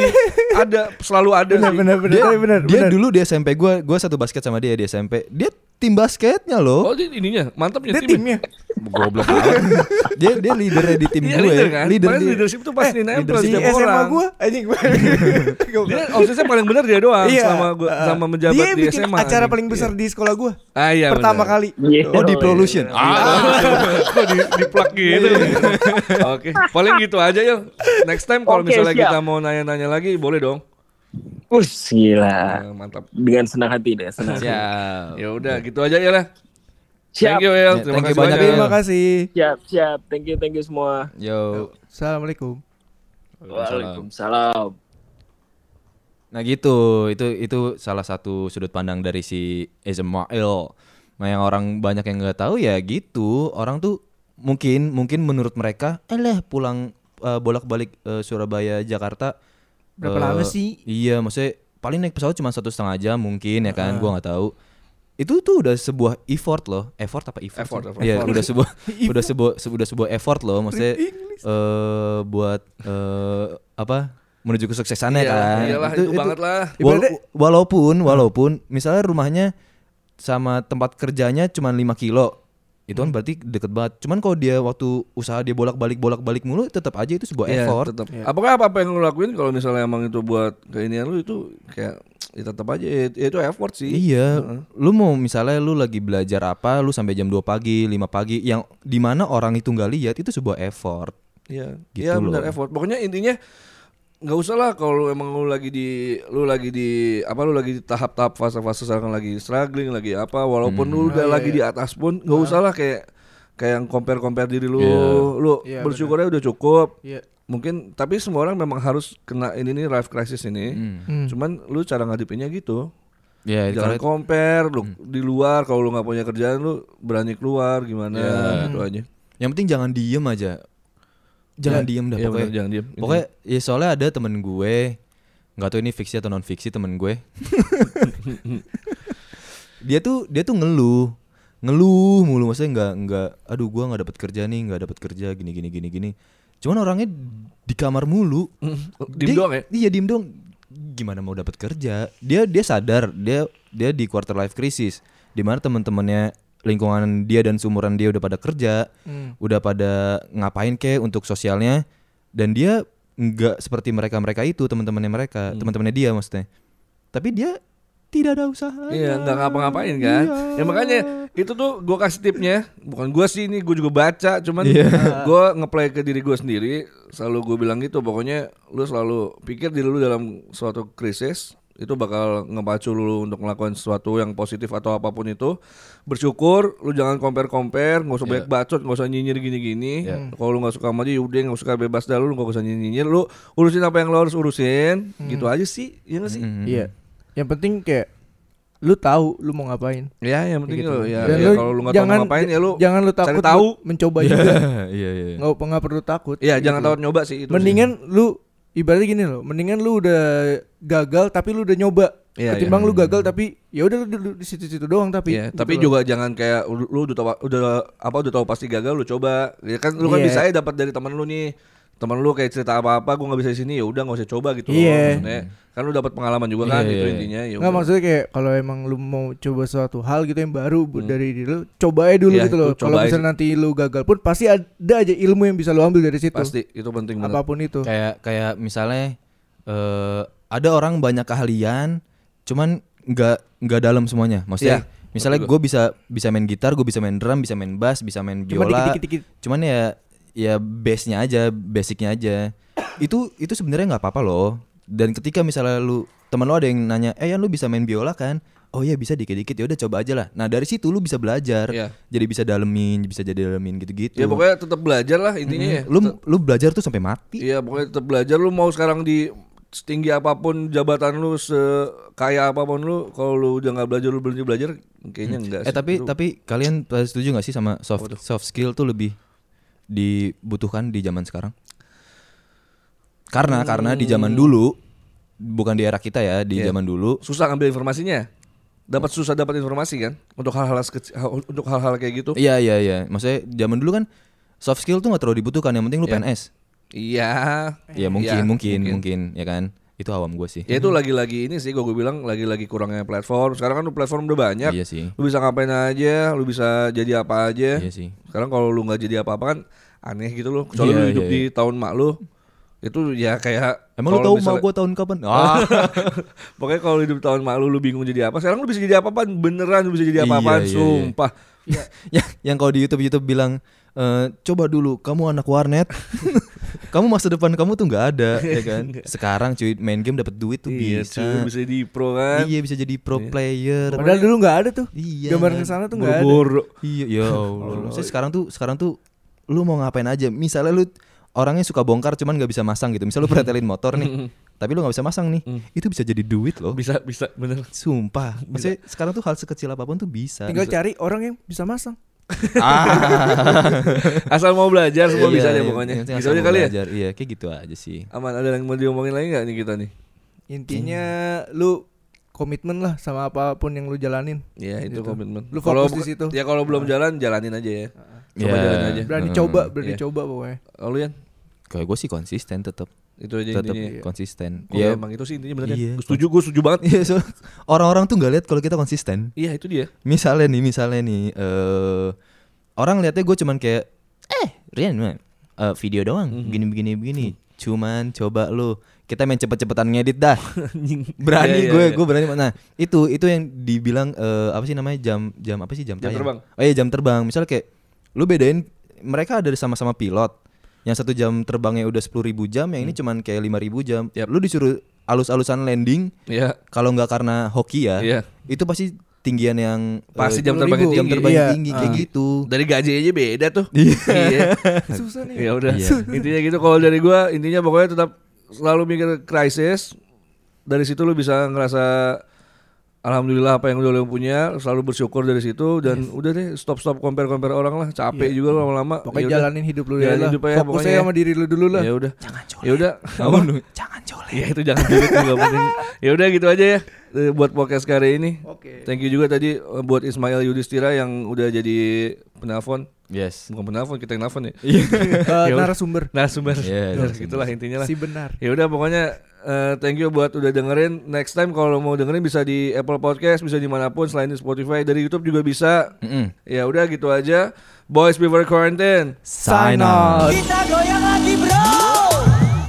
Speaker 3: ada, selalu ada
Speaker 5: Bener,
Speaker 3: sih.
Speaker 5: bener, bener,
Speaker 4: Dia,
Speaker 5: tapi bener,
Speaker 4: dia
Speaker 5: bener.
Speaker 4: dulu di SMP gua gua satu basket sama dia di SMP. Dia tim basketnya
Speaker 3: Oh,
Speaker 4: loh.
Speaker 3: dia ininya, mantapnya
Speaker 5: Dia timnya.
Speaker 4: Goblok dia dia leadernya di tim
Speaker 3: Iya,
Speaker 4: gue.
Speaker 3: leader kan?
Speaker 4: Leader
Speaker 3: Makanya
Speaker 4: dia.
Speaker 3: leadership tuh
Speaker 5: Eh,
Speaker 3: pasti nempel
Speaker 5: Di
Speaker 3: setiap
Speaker 5: SMA
Speaker 3: orang.
Speaker 5: gua anjing gua.
Speaker 3: Dia OSISnya paling benar dia doang selama gua,
Speaker 5: eh,
Speaker 3: sama menjabat
Speaker 5: dia
Speaker 3: di
Speaker 5: bikin
Speaker 3: SMA.
Speaker 5: acara
Speaker 3: anjing.
Speaker 5: paling besar di sekolah gua.
Speaker 3: Ah, iya,
Speaker 5: Pertama
Speaker 3: benar.
Speaker 5: kali.
Speaker 1: Iya.
Speaker 4: Oh di Prolution.
Speaker 3: Kok di diplak gitu. Iya. Oke, paling gitu aja ya. Next time kalau
Speaker 1: Oke,
Speaker 3: misalnya
Speaker 1: siap.
Speaker 3: kita mau nanya-nanya lagi boleh dong.
Speaker 1: Ush, gila
Speaker 3: Nah, mantap.
Speaker 1: dengan senang hati deh senang hati.
Speaker 4: Siap.
Speaker 3: Ya udah gitu aja ya lah.
Speaker 1: siap
Speaker 3: Thank you, El.
Speaker 4: Ya,
Speaker 3: Terima
Speaker 4: thank you
Speaker 3: kasih
Speaker 4: banyak,
Speaker 3: banyak.
Speaker 4: El.
Speaker 5: Terima kasih.
Speaker 1: siap siap thank you thank you semua
Speaker 4: Yo.
Speaker 5: Assalamualaikum.
Speaker 1: Waalaikumsalam
Speaker 4: Nah gitu, itu itu salah satu sudut pandang dari si Ismail. Nah yang orang banyak yang nggak tahu ya gitu, orang tuh mungkin mungkin menurut mereka, eleh pulang eh, bolak-balik eh, Surabaya Jakarta
Speaker 5: Berapa
Speaker 4: eh,
Speaker 5: lama sih?
Speaker 4: Iya, maksudnya paling naik pesawat cuma satu setengah jam mungkin ya kan, gua nggak tahu. Itu tuh udah sebuah effort loh, effort apa effort?
Speaker 3: Effort,
Speaker 4: sih?
Speaker 3: effort.
Speaker 4: Iya, udah sebuah udah sebuah se- udah sebuah effort loh, maksudnya eh buat eh apa menuju kesuksesannya
Speaker 3: Iya,
Speaker 4: kan.
Speaker 3: iyalah, itu banget lah.
Speaker 4: Wal-
Speaker 5: Ibaratnya-
Speaker 4: walaupun walaupun misalnya rumahnya sama tempat kerjanya cuma 5 kilo. Itu
Speaker 3: Hmm.
Speaker 4: kan berarti deket banget. Cuman kalau dia waktu usaha dia bolak-balik bolak-balik mulu tetap aja itu sebuah
Speaker 3: Iya,
Speaker 4: effort.
Speaker 3: tetap. Apakah apa, apa yang lu lakuin kalau misalnya emang itu buat keinian lu itu kayak ya tetap aja ya- ya itu effort sih.
Speaker 4: Iya, lu mau misalnya lu lagi belajar apa, lu sampai jam 2 pagi, 5 pagi yang dimana orang itu nggak lihat itu sebuah effort.
Speaker 3: Iya,
Speaker 4: Gitu
Speaker 3: iya benar
Speaker 4: loh.
Speaker 3: effort. Pokoknya intinya nggak usah lah kalau emang lu lagi di lu lagi di apa lu lagi di tahap-tahap fase-fase sekarang lagi struggling lagi apa walaupun lu
Speaker 4: Hmm.
Speaker 3: udah
Speaker 5: Oh, iya,
Speaker 3: lagi di atas pun
Speaker 5: Nah.
Speaker 3: nggak usah lah kayak kayak yang compare-compare diri lu lu
Speaker 5: Iya,
Speaker 3: bersyukurnya udah cukup
Speaker 5: Iya.
Speaker 3: mungkin tapi semua orang memang harus kena ini nih life crisis ini
Speaker 4: Hmm.
Speaker 3: cuman lu cara ngadepinnya gitu
Speaker 4: Iya,
Speaker 3: jangan compare lu
Speaker 4: Hmm.
Speaker 3: di luar kalau lu nggak punya kerjaan lu berani keluar gimana
Speaker 4: Iya.
Speaker 3: gitu aja
Speaker 4: Yang penting jangan diem aja. Jangan diem dah
Speaker 3: Iya,
Speaker 4: pokoknya.
Speaker 3: benar, jangan diem
Speaker 4: Pokoknya ya soalnya ada temen gue nggak tahu ini fiksi atau non fiksi temen gue. dia tuh dia tuh ngeluh ngeluh mulu maksudnya nggak nggak aduh gua nggak dapat kerja nih nggak dapat kerja gini gini gini gini cuman orangnya di kamar mulu
Speaker 3: diem
Speaker 4: Dia-
Speaker 3: doang ya
Speaker 4: iya diem doang gimana mau dapat kerja dia dia sadar dia dia di quarter life crisis di mana teman-temannya lingkungan dia dan seumuran dia udah pada kerja
Speaker 3: Hmm.
Speaker 4: udah pada ngapain kek untuk sosialnya dan dia nggak seperti mereka mereka itu teman-temannya mereka
Speaker 3: Hmm.
Speaker 4: teman-temannya dia maksudnya tapi dia tidak ada usaha
Speaker 3: Iya, nggak ngapa-ngapain kan? Ya makanya itu tuh gue kasih tipnya, bukan gue sih ini gue juga baca, cuman gue ngeplay ke diri gue sendiri, selalu gue bilang gitu, pokoknya lu selalu pikir diri lu dalam suatu krisis itu bakal ngepacu lu untuk melakukan sesuatu yang positif atau apapun itu bersyukur lu jangan compare compare nggak usah banyak bacot nggak usah nyinyir gini gini kalau lu nggak suka sama dia yaudah nggak suka bebas dah lu nggak usah nyinyir nyinyir lu urusin apa yang lu harus urusin gitu aja sih ya nggak sih
Speaker 5: Iya. Yang penting kayak lu tahu lu mau ngapain. gitu.
Speaker 3: Ya, yang penting lo ya,
Speaker 5: Dan
Speaker 3: ya kalau lu nggak tahu mau ngapain ya lu
Speaker 5: jangan lu gitu
Speaker 3: cari
Speaker 5: takut
Speaker 3: tahu.
Speaker 5: buat mencoba juga.
Speaker 4: iya iya
Speaker 5: Nggak nggak perlu takut.
Speaker 3: Iya, jangan takut nyoba sih itu.
Speaker 5: Mendingan lu ibaratnya gini loh, mendingan lu udah gagal tapi lu udah nyoba.
Speaker 3: sih. Iya,
Speaker 5: ketimbang
Speaker 3: iya.
Speaker 5: lu gagal tapi ya udah lu dulu di situ-situ doang tapi
Speaker 3: Iya,
Speaker 5: gitu
Speaker 3: tapi
Speaker 5: loh.
Speaker 3: juga jangan kayak lu, lu udah tahu udah apa udah tahu pasti gagal lu coba. Ya kan lu kan
Speaker 5: Iya.
Speaker 3: bisa aja dapat dari teman lu nih. Teman lu kayak cerita apa-apa gua nggak bisa di sini ya udah nggak usah coba gitu loh.
Speaker 5: Iya.
Speaker 3: Maksudnya kan lu dapat pengalaman juga kan
Speaker 4: Iya,
Speaker 3: itu
Speaker 4: iya.
Speaker 3: intinya ya.
Speaker 5: Nggak
Speaker 3: udah.
Speaker 5: maksudnya kayak kalau emang lu mau coba suatu hal gitu yang baru bu- dari diri lu, coba aja dulu
Speaker 3: Hmm. Iya,
Speaker 5: gitu
Speaker 3: itu
Speaker 5: loh.
Speaker 3: coba
Speaker 5: Kalau
Speaker 3: aja
Speaker 5: misalnya nanti lu gagal pun pasti ada aja ilmu yang bisa lu ambil dari situ.
Speaker 3: Pasti itu penting banget.
Speaker 5: Apapun itu.
Speaker 4: Gitu. kayak kayak misalnya eh ada orang banyak keahlian cuman nggak nggak dalam semuanya maksudnya
Speaker 3: Iya.
Speaker 4: misalnya gue bisa bisa main gitar gue bisa main drum bisa main bass bisa main
Speaker 5: Cuma
Speaker 4: biola
Speaker 5: dikit-dikit-dikit.
Speaker 4: cuman ya ya base nya aja basicnya aja itu itu sebenarnya nggak apa-apa loh dan ketika misalnya lu teman lo ada yang nanya eh Yan, lu bisa main biola kan oh iya bisa dikit-dikit ya udah coba aja lah nah dari situ lu bisa belajar
Speaker 3: Iya.
Speaker 4: jadi bisa dalemin bisa jadi dalemin gitu-gitu
Speaker 3: Ya pokoknya tetap belajar lah intinya ya.
Speaker 4: lu lu belajar tuh sampai mati
Speaker 3: Iya pokoknya tetap belajar lu mau sekarang di setinggi apapun jabatan lu sekaya apapun lu kalau lu udah nggak belajar lu berhenti belajar kayaknya enggak
Speaker 4: Eh
Speaker 3: sih.
Speaker 4: tapi tapi kalian pada setuju nggak sih sama soft soft skill tuh lebih dibutuhkan di zaman sekarang?
Speaker 3: Hmm.
Speaker 4: Karena karena di zaman dulu bukan di era kita ya
Speaker 3: Iya.
Speaker 4: di zaman dulu
Speaker 3: susah ngambil informasinya. Dapat susah dapat informasi kan untuk hal-hal sekecil- untuk hal-hal kayak gitu.
Speaker 4: iya iya iya maksudnya zaman dulu kan soft skill tuh nggak terlalu dibutuhkan yang penting lu PNS
Speaker 3: Iya.
Speaker 4: ya mungkin mungkin mungkin ya kan itu awam gue sih
Speaker 3: Ya itu lagi-lagi ini sih gue bilang lagi-lagi kurangnya platform. Sekarang kan platform udah banyak.
Speaker 4: Iya sih.
Speaker 3: Lu bisa ngapain aja, lu bisa jadi apa aja.
Speaker 4: iya sih
Speaker 3: Sekarang kalau lu nggak jadi apa-apa kan aneh gitu loh. Kecuali
Speaker 4: Iya,
Speaker 3: lu hidup
Speaker 4: iya,
Speaker 3: di tahun mak lu itu ya kayak
Speaker 4: emang lu
Speaker 3: kalau
Speaker 4: tahu mau
Speaker 3: misalnya-
Speaker 4: gue tahun kapan ah
Speaker 3: Pokoknya kalau hidup tahun mak lu lu bingung jadi apa. Sekarang lu bisa jadi apa-apaan, beneran lu bisa jadi apa-apaan,
Speaker 4: Iya, iya, iya.
Speaker 3: sumpah.
Speaker 4: yang yang kalau di YouTube YouTube bilang "Eh, coba dulu kamu anak warnet kamu masa depan kamu tuh nggak ada ya kan sekarang cuy main game dapat duit tuh
Speaker 3: Iya,
Speaker 4: bisa
Speaker 3: cuy, bisa di pro kan.
Speaker 4: iya bisa jadi pro player
Speaker 5: Padahal dulu nggak ada tuh.
Speaker 4: Iya.
Speaker 3: kan.
Speaker 5: Gambar ke sana tuh nggak ada.
Speaker 3: Boro-boro.
Speaker 4: iya ya Allah Maksudnya sekarang tuh sekarang tuh lu mau ngapain aja misalnya lu orangnya suka bongkar cuman nggak bisa masang gitu misal lu pretelin motor nih tapi lu nggak bisa masang nih itu bisa jadi duit loh
Speaker 3: Bisa bisa bener.
Speaker 4: sumpah maksudnya sekarang tuh hal sekecil apapun tuh
Speaker 3: Nah,
Speaker 4: bisa Ah.
Speaker 5: Tinggal
Speaker 4: Bisa.
Speaker 5: cari orang yang bisa masang.
Speaker 3: Asal mau belajar semua
Speaker 4: Iya,
Speaker 3: bisa deh
Speaker 4: iya,
Speaker 3: pokoknya.
Speaker 4: yang penting
Speaker 3: Gitu
Speaker 4: asal
Speaker 3: aja
Speaker 4: lu
Speaker 3: kali ya.
Speaker 4: belajar. Iya, kayak gitu aja sih.
Speaker 3: Aman, ada yang mau diomongin lagi nggak nih kita nih?
Speaker 5: Intinya
Speaker 3: Hmm.
Speaker 5: lu komitmen lah sama apapun yang lu jalanin.
Speaker 4: Iya,
Speaker 3: Ya itu komitmen.
Speaker 5: Lu
Speaker 3: Kalau
Speaker 5: fokus di
Speaker 3: bu-
Speaker 5: situ.
Speaker 3: Ya kalau belum jalan, jalanin aja ya. Coba
Speaker 4: Ah. Iya.
Speaker 3: jalanin aja.
Speaker 5: Berani
Speaker 4: Hmm,
Speaker 5: coba, berani
Speaker 3: iya.
Speaker 5: coba pokoknya.
Speaker 3: Kalau Yan,
Speaker 4: Kayak gue sih konsisten tetap,
Speaker 3: itu aja
Speaker 4: tetap
Speaker 3: intinya. ya.
Speaker 4: konsisten.
Speaker 3: Kalau
Speaker 4: Iya.
Speaker 3: emang itu sih intinya bener
Speaker 4: Iya.
Speaker 3: Gue setuju, gue setuju banget.
Speaker 4: Iya, so- orang-orang tuh nggak lihat kalau kita konsisten.
Speaker 3: Iya itu dia.
Speaker 4: Misalnya nih, misalnya nih, eh orang lihatnya gue cuman kayak, eh, Rian, mah, eh, video doang,
Speaker 3: Mhm.
Speaker 4: begini-begini, begini. Cuman coba lu, kita main cepet-cepetan ngedit dah.
Speaker 3: Iya, iya,
Speaker 4: berani gue,
Speaker 3: iya.
Speaker 4: gue berani. Nah, itu itu yang dibilang eh, apa sih namanya jam jam apa sih jam,
Speaker 3: Jam
Speaker 4: tayang.
Speaker 3: terbang.
Speaker 4: Oh iya jam terbang. Misal kayak lu bedain mereka ada sama-sama pilot. Yang satu jam terbangnya udah 10.000 jam, yang ini cuman kayak 5.000 jam.
Speaker 3: Hmm. Yap.
Speaker 4: Lu disuruh alus-alusan landing
Speaker 3: Iya.
Speaker 4: kalau nggak karena hoki ya.
Speaker 3: Iya.
Speaker 4: Itu pasti tinggian yang eh,
Speaker 3: Pasti jam
Speaker 5: 10.000.
Speaker 3: terbangnya
Speaker 4: jam
Speaker 3: tinggi.
Speaker 4: terbang
Speaker 5: Iya.
Speaker 4: tinggi kayak
Speaker 5: Ah.
Speaker 4: gitu.
Speaker 3: Dari gaji aja beda tuh. Iya.
Speaker 5: Susah nih.
Speaker 3: Ya udah.
Speaker 4: Iya.
Speaker 3: Intinya gitu. Kalau dari gue, intinya pokoknya tetap selalu mikir krisis. Dari situ lu bisa ngerasa Alhamdulillah apa yang udah lu punya selalu bersyukur dari situ dan udah deh stop stop compare compare orang lah capek juga lu lama-lama
Speaker 5: Pokoknya
Speaker 3: Ya udah.
Speaker 5: jalanin hidup lu
Speaker 3: Jalanin
Speaker 5: ya lah.
Speaker 3: hidup aja,
Speaker 5: Fokus
Speaker 3: pokoknya.
Speaker 5: aja sama diri lu dulu lah. Eh,
Speaker 3: Ya udah.
Speaker 4: Jangan colek.
Speaker 3: Ya udah.
Speaker 4: Apa? Jangan colek.
Speaker 3: Ya itu jangan dulu juga penting. Ya udah gitu aja ya eh, buat podcast kali ini.
Speaker 5: Oke.
Speaker 3: Thank you juga tadi eh, buat Ismail Yudhistira yang udah jadi penelpon.
Speaker 4: Yes.
Speaker 3: Bukan penelpon, kita yang nelfon ya.
Speaker 5: Eh,
Speaker 3: Ya udah.
Speaker 5: narasumber
Speaker 3: Nah, sumber.
Speaker 4: Iya,
Speaker 3: Nah,
Speaker 4: narasumber.
Speaker 3: gitulah intinya lah.
Speaker 5: si benar.
Speaker 3: Ya udah pokoknya eh, thank you buat udah dengerin. Next time kalau mau dengerin bisa di Apple Podcast, bisa dimanapun selain di Spotify, dari YouTube juga bisa.
Speaker 5: Mm.
Speaker 4: Mm-mm.
Speaker 3: Ya udah gitu aja. Boys before quarantine.
Speaker 4: Sign out.
Speaker 2: Kita goyang lagi bro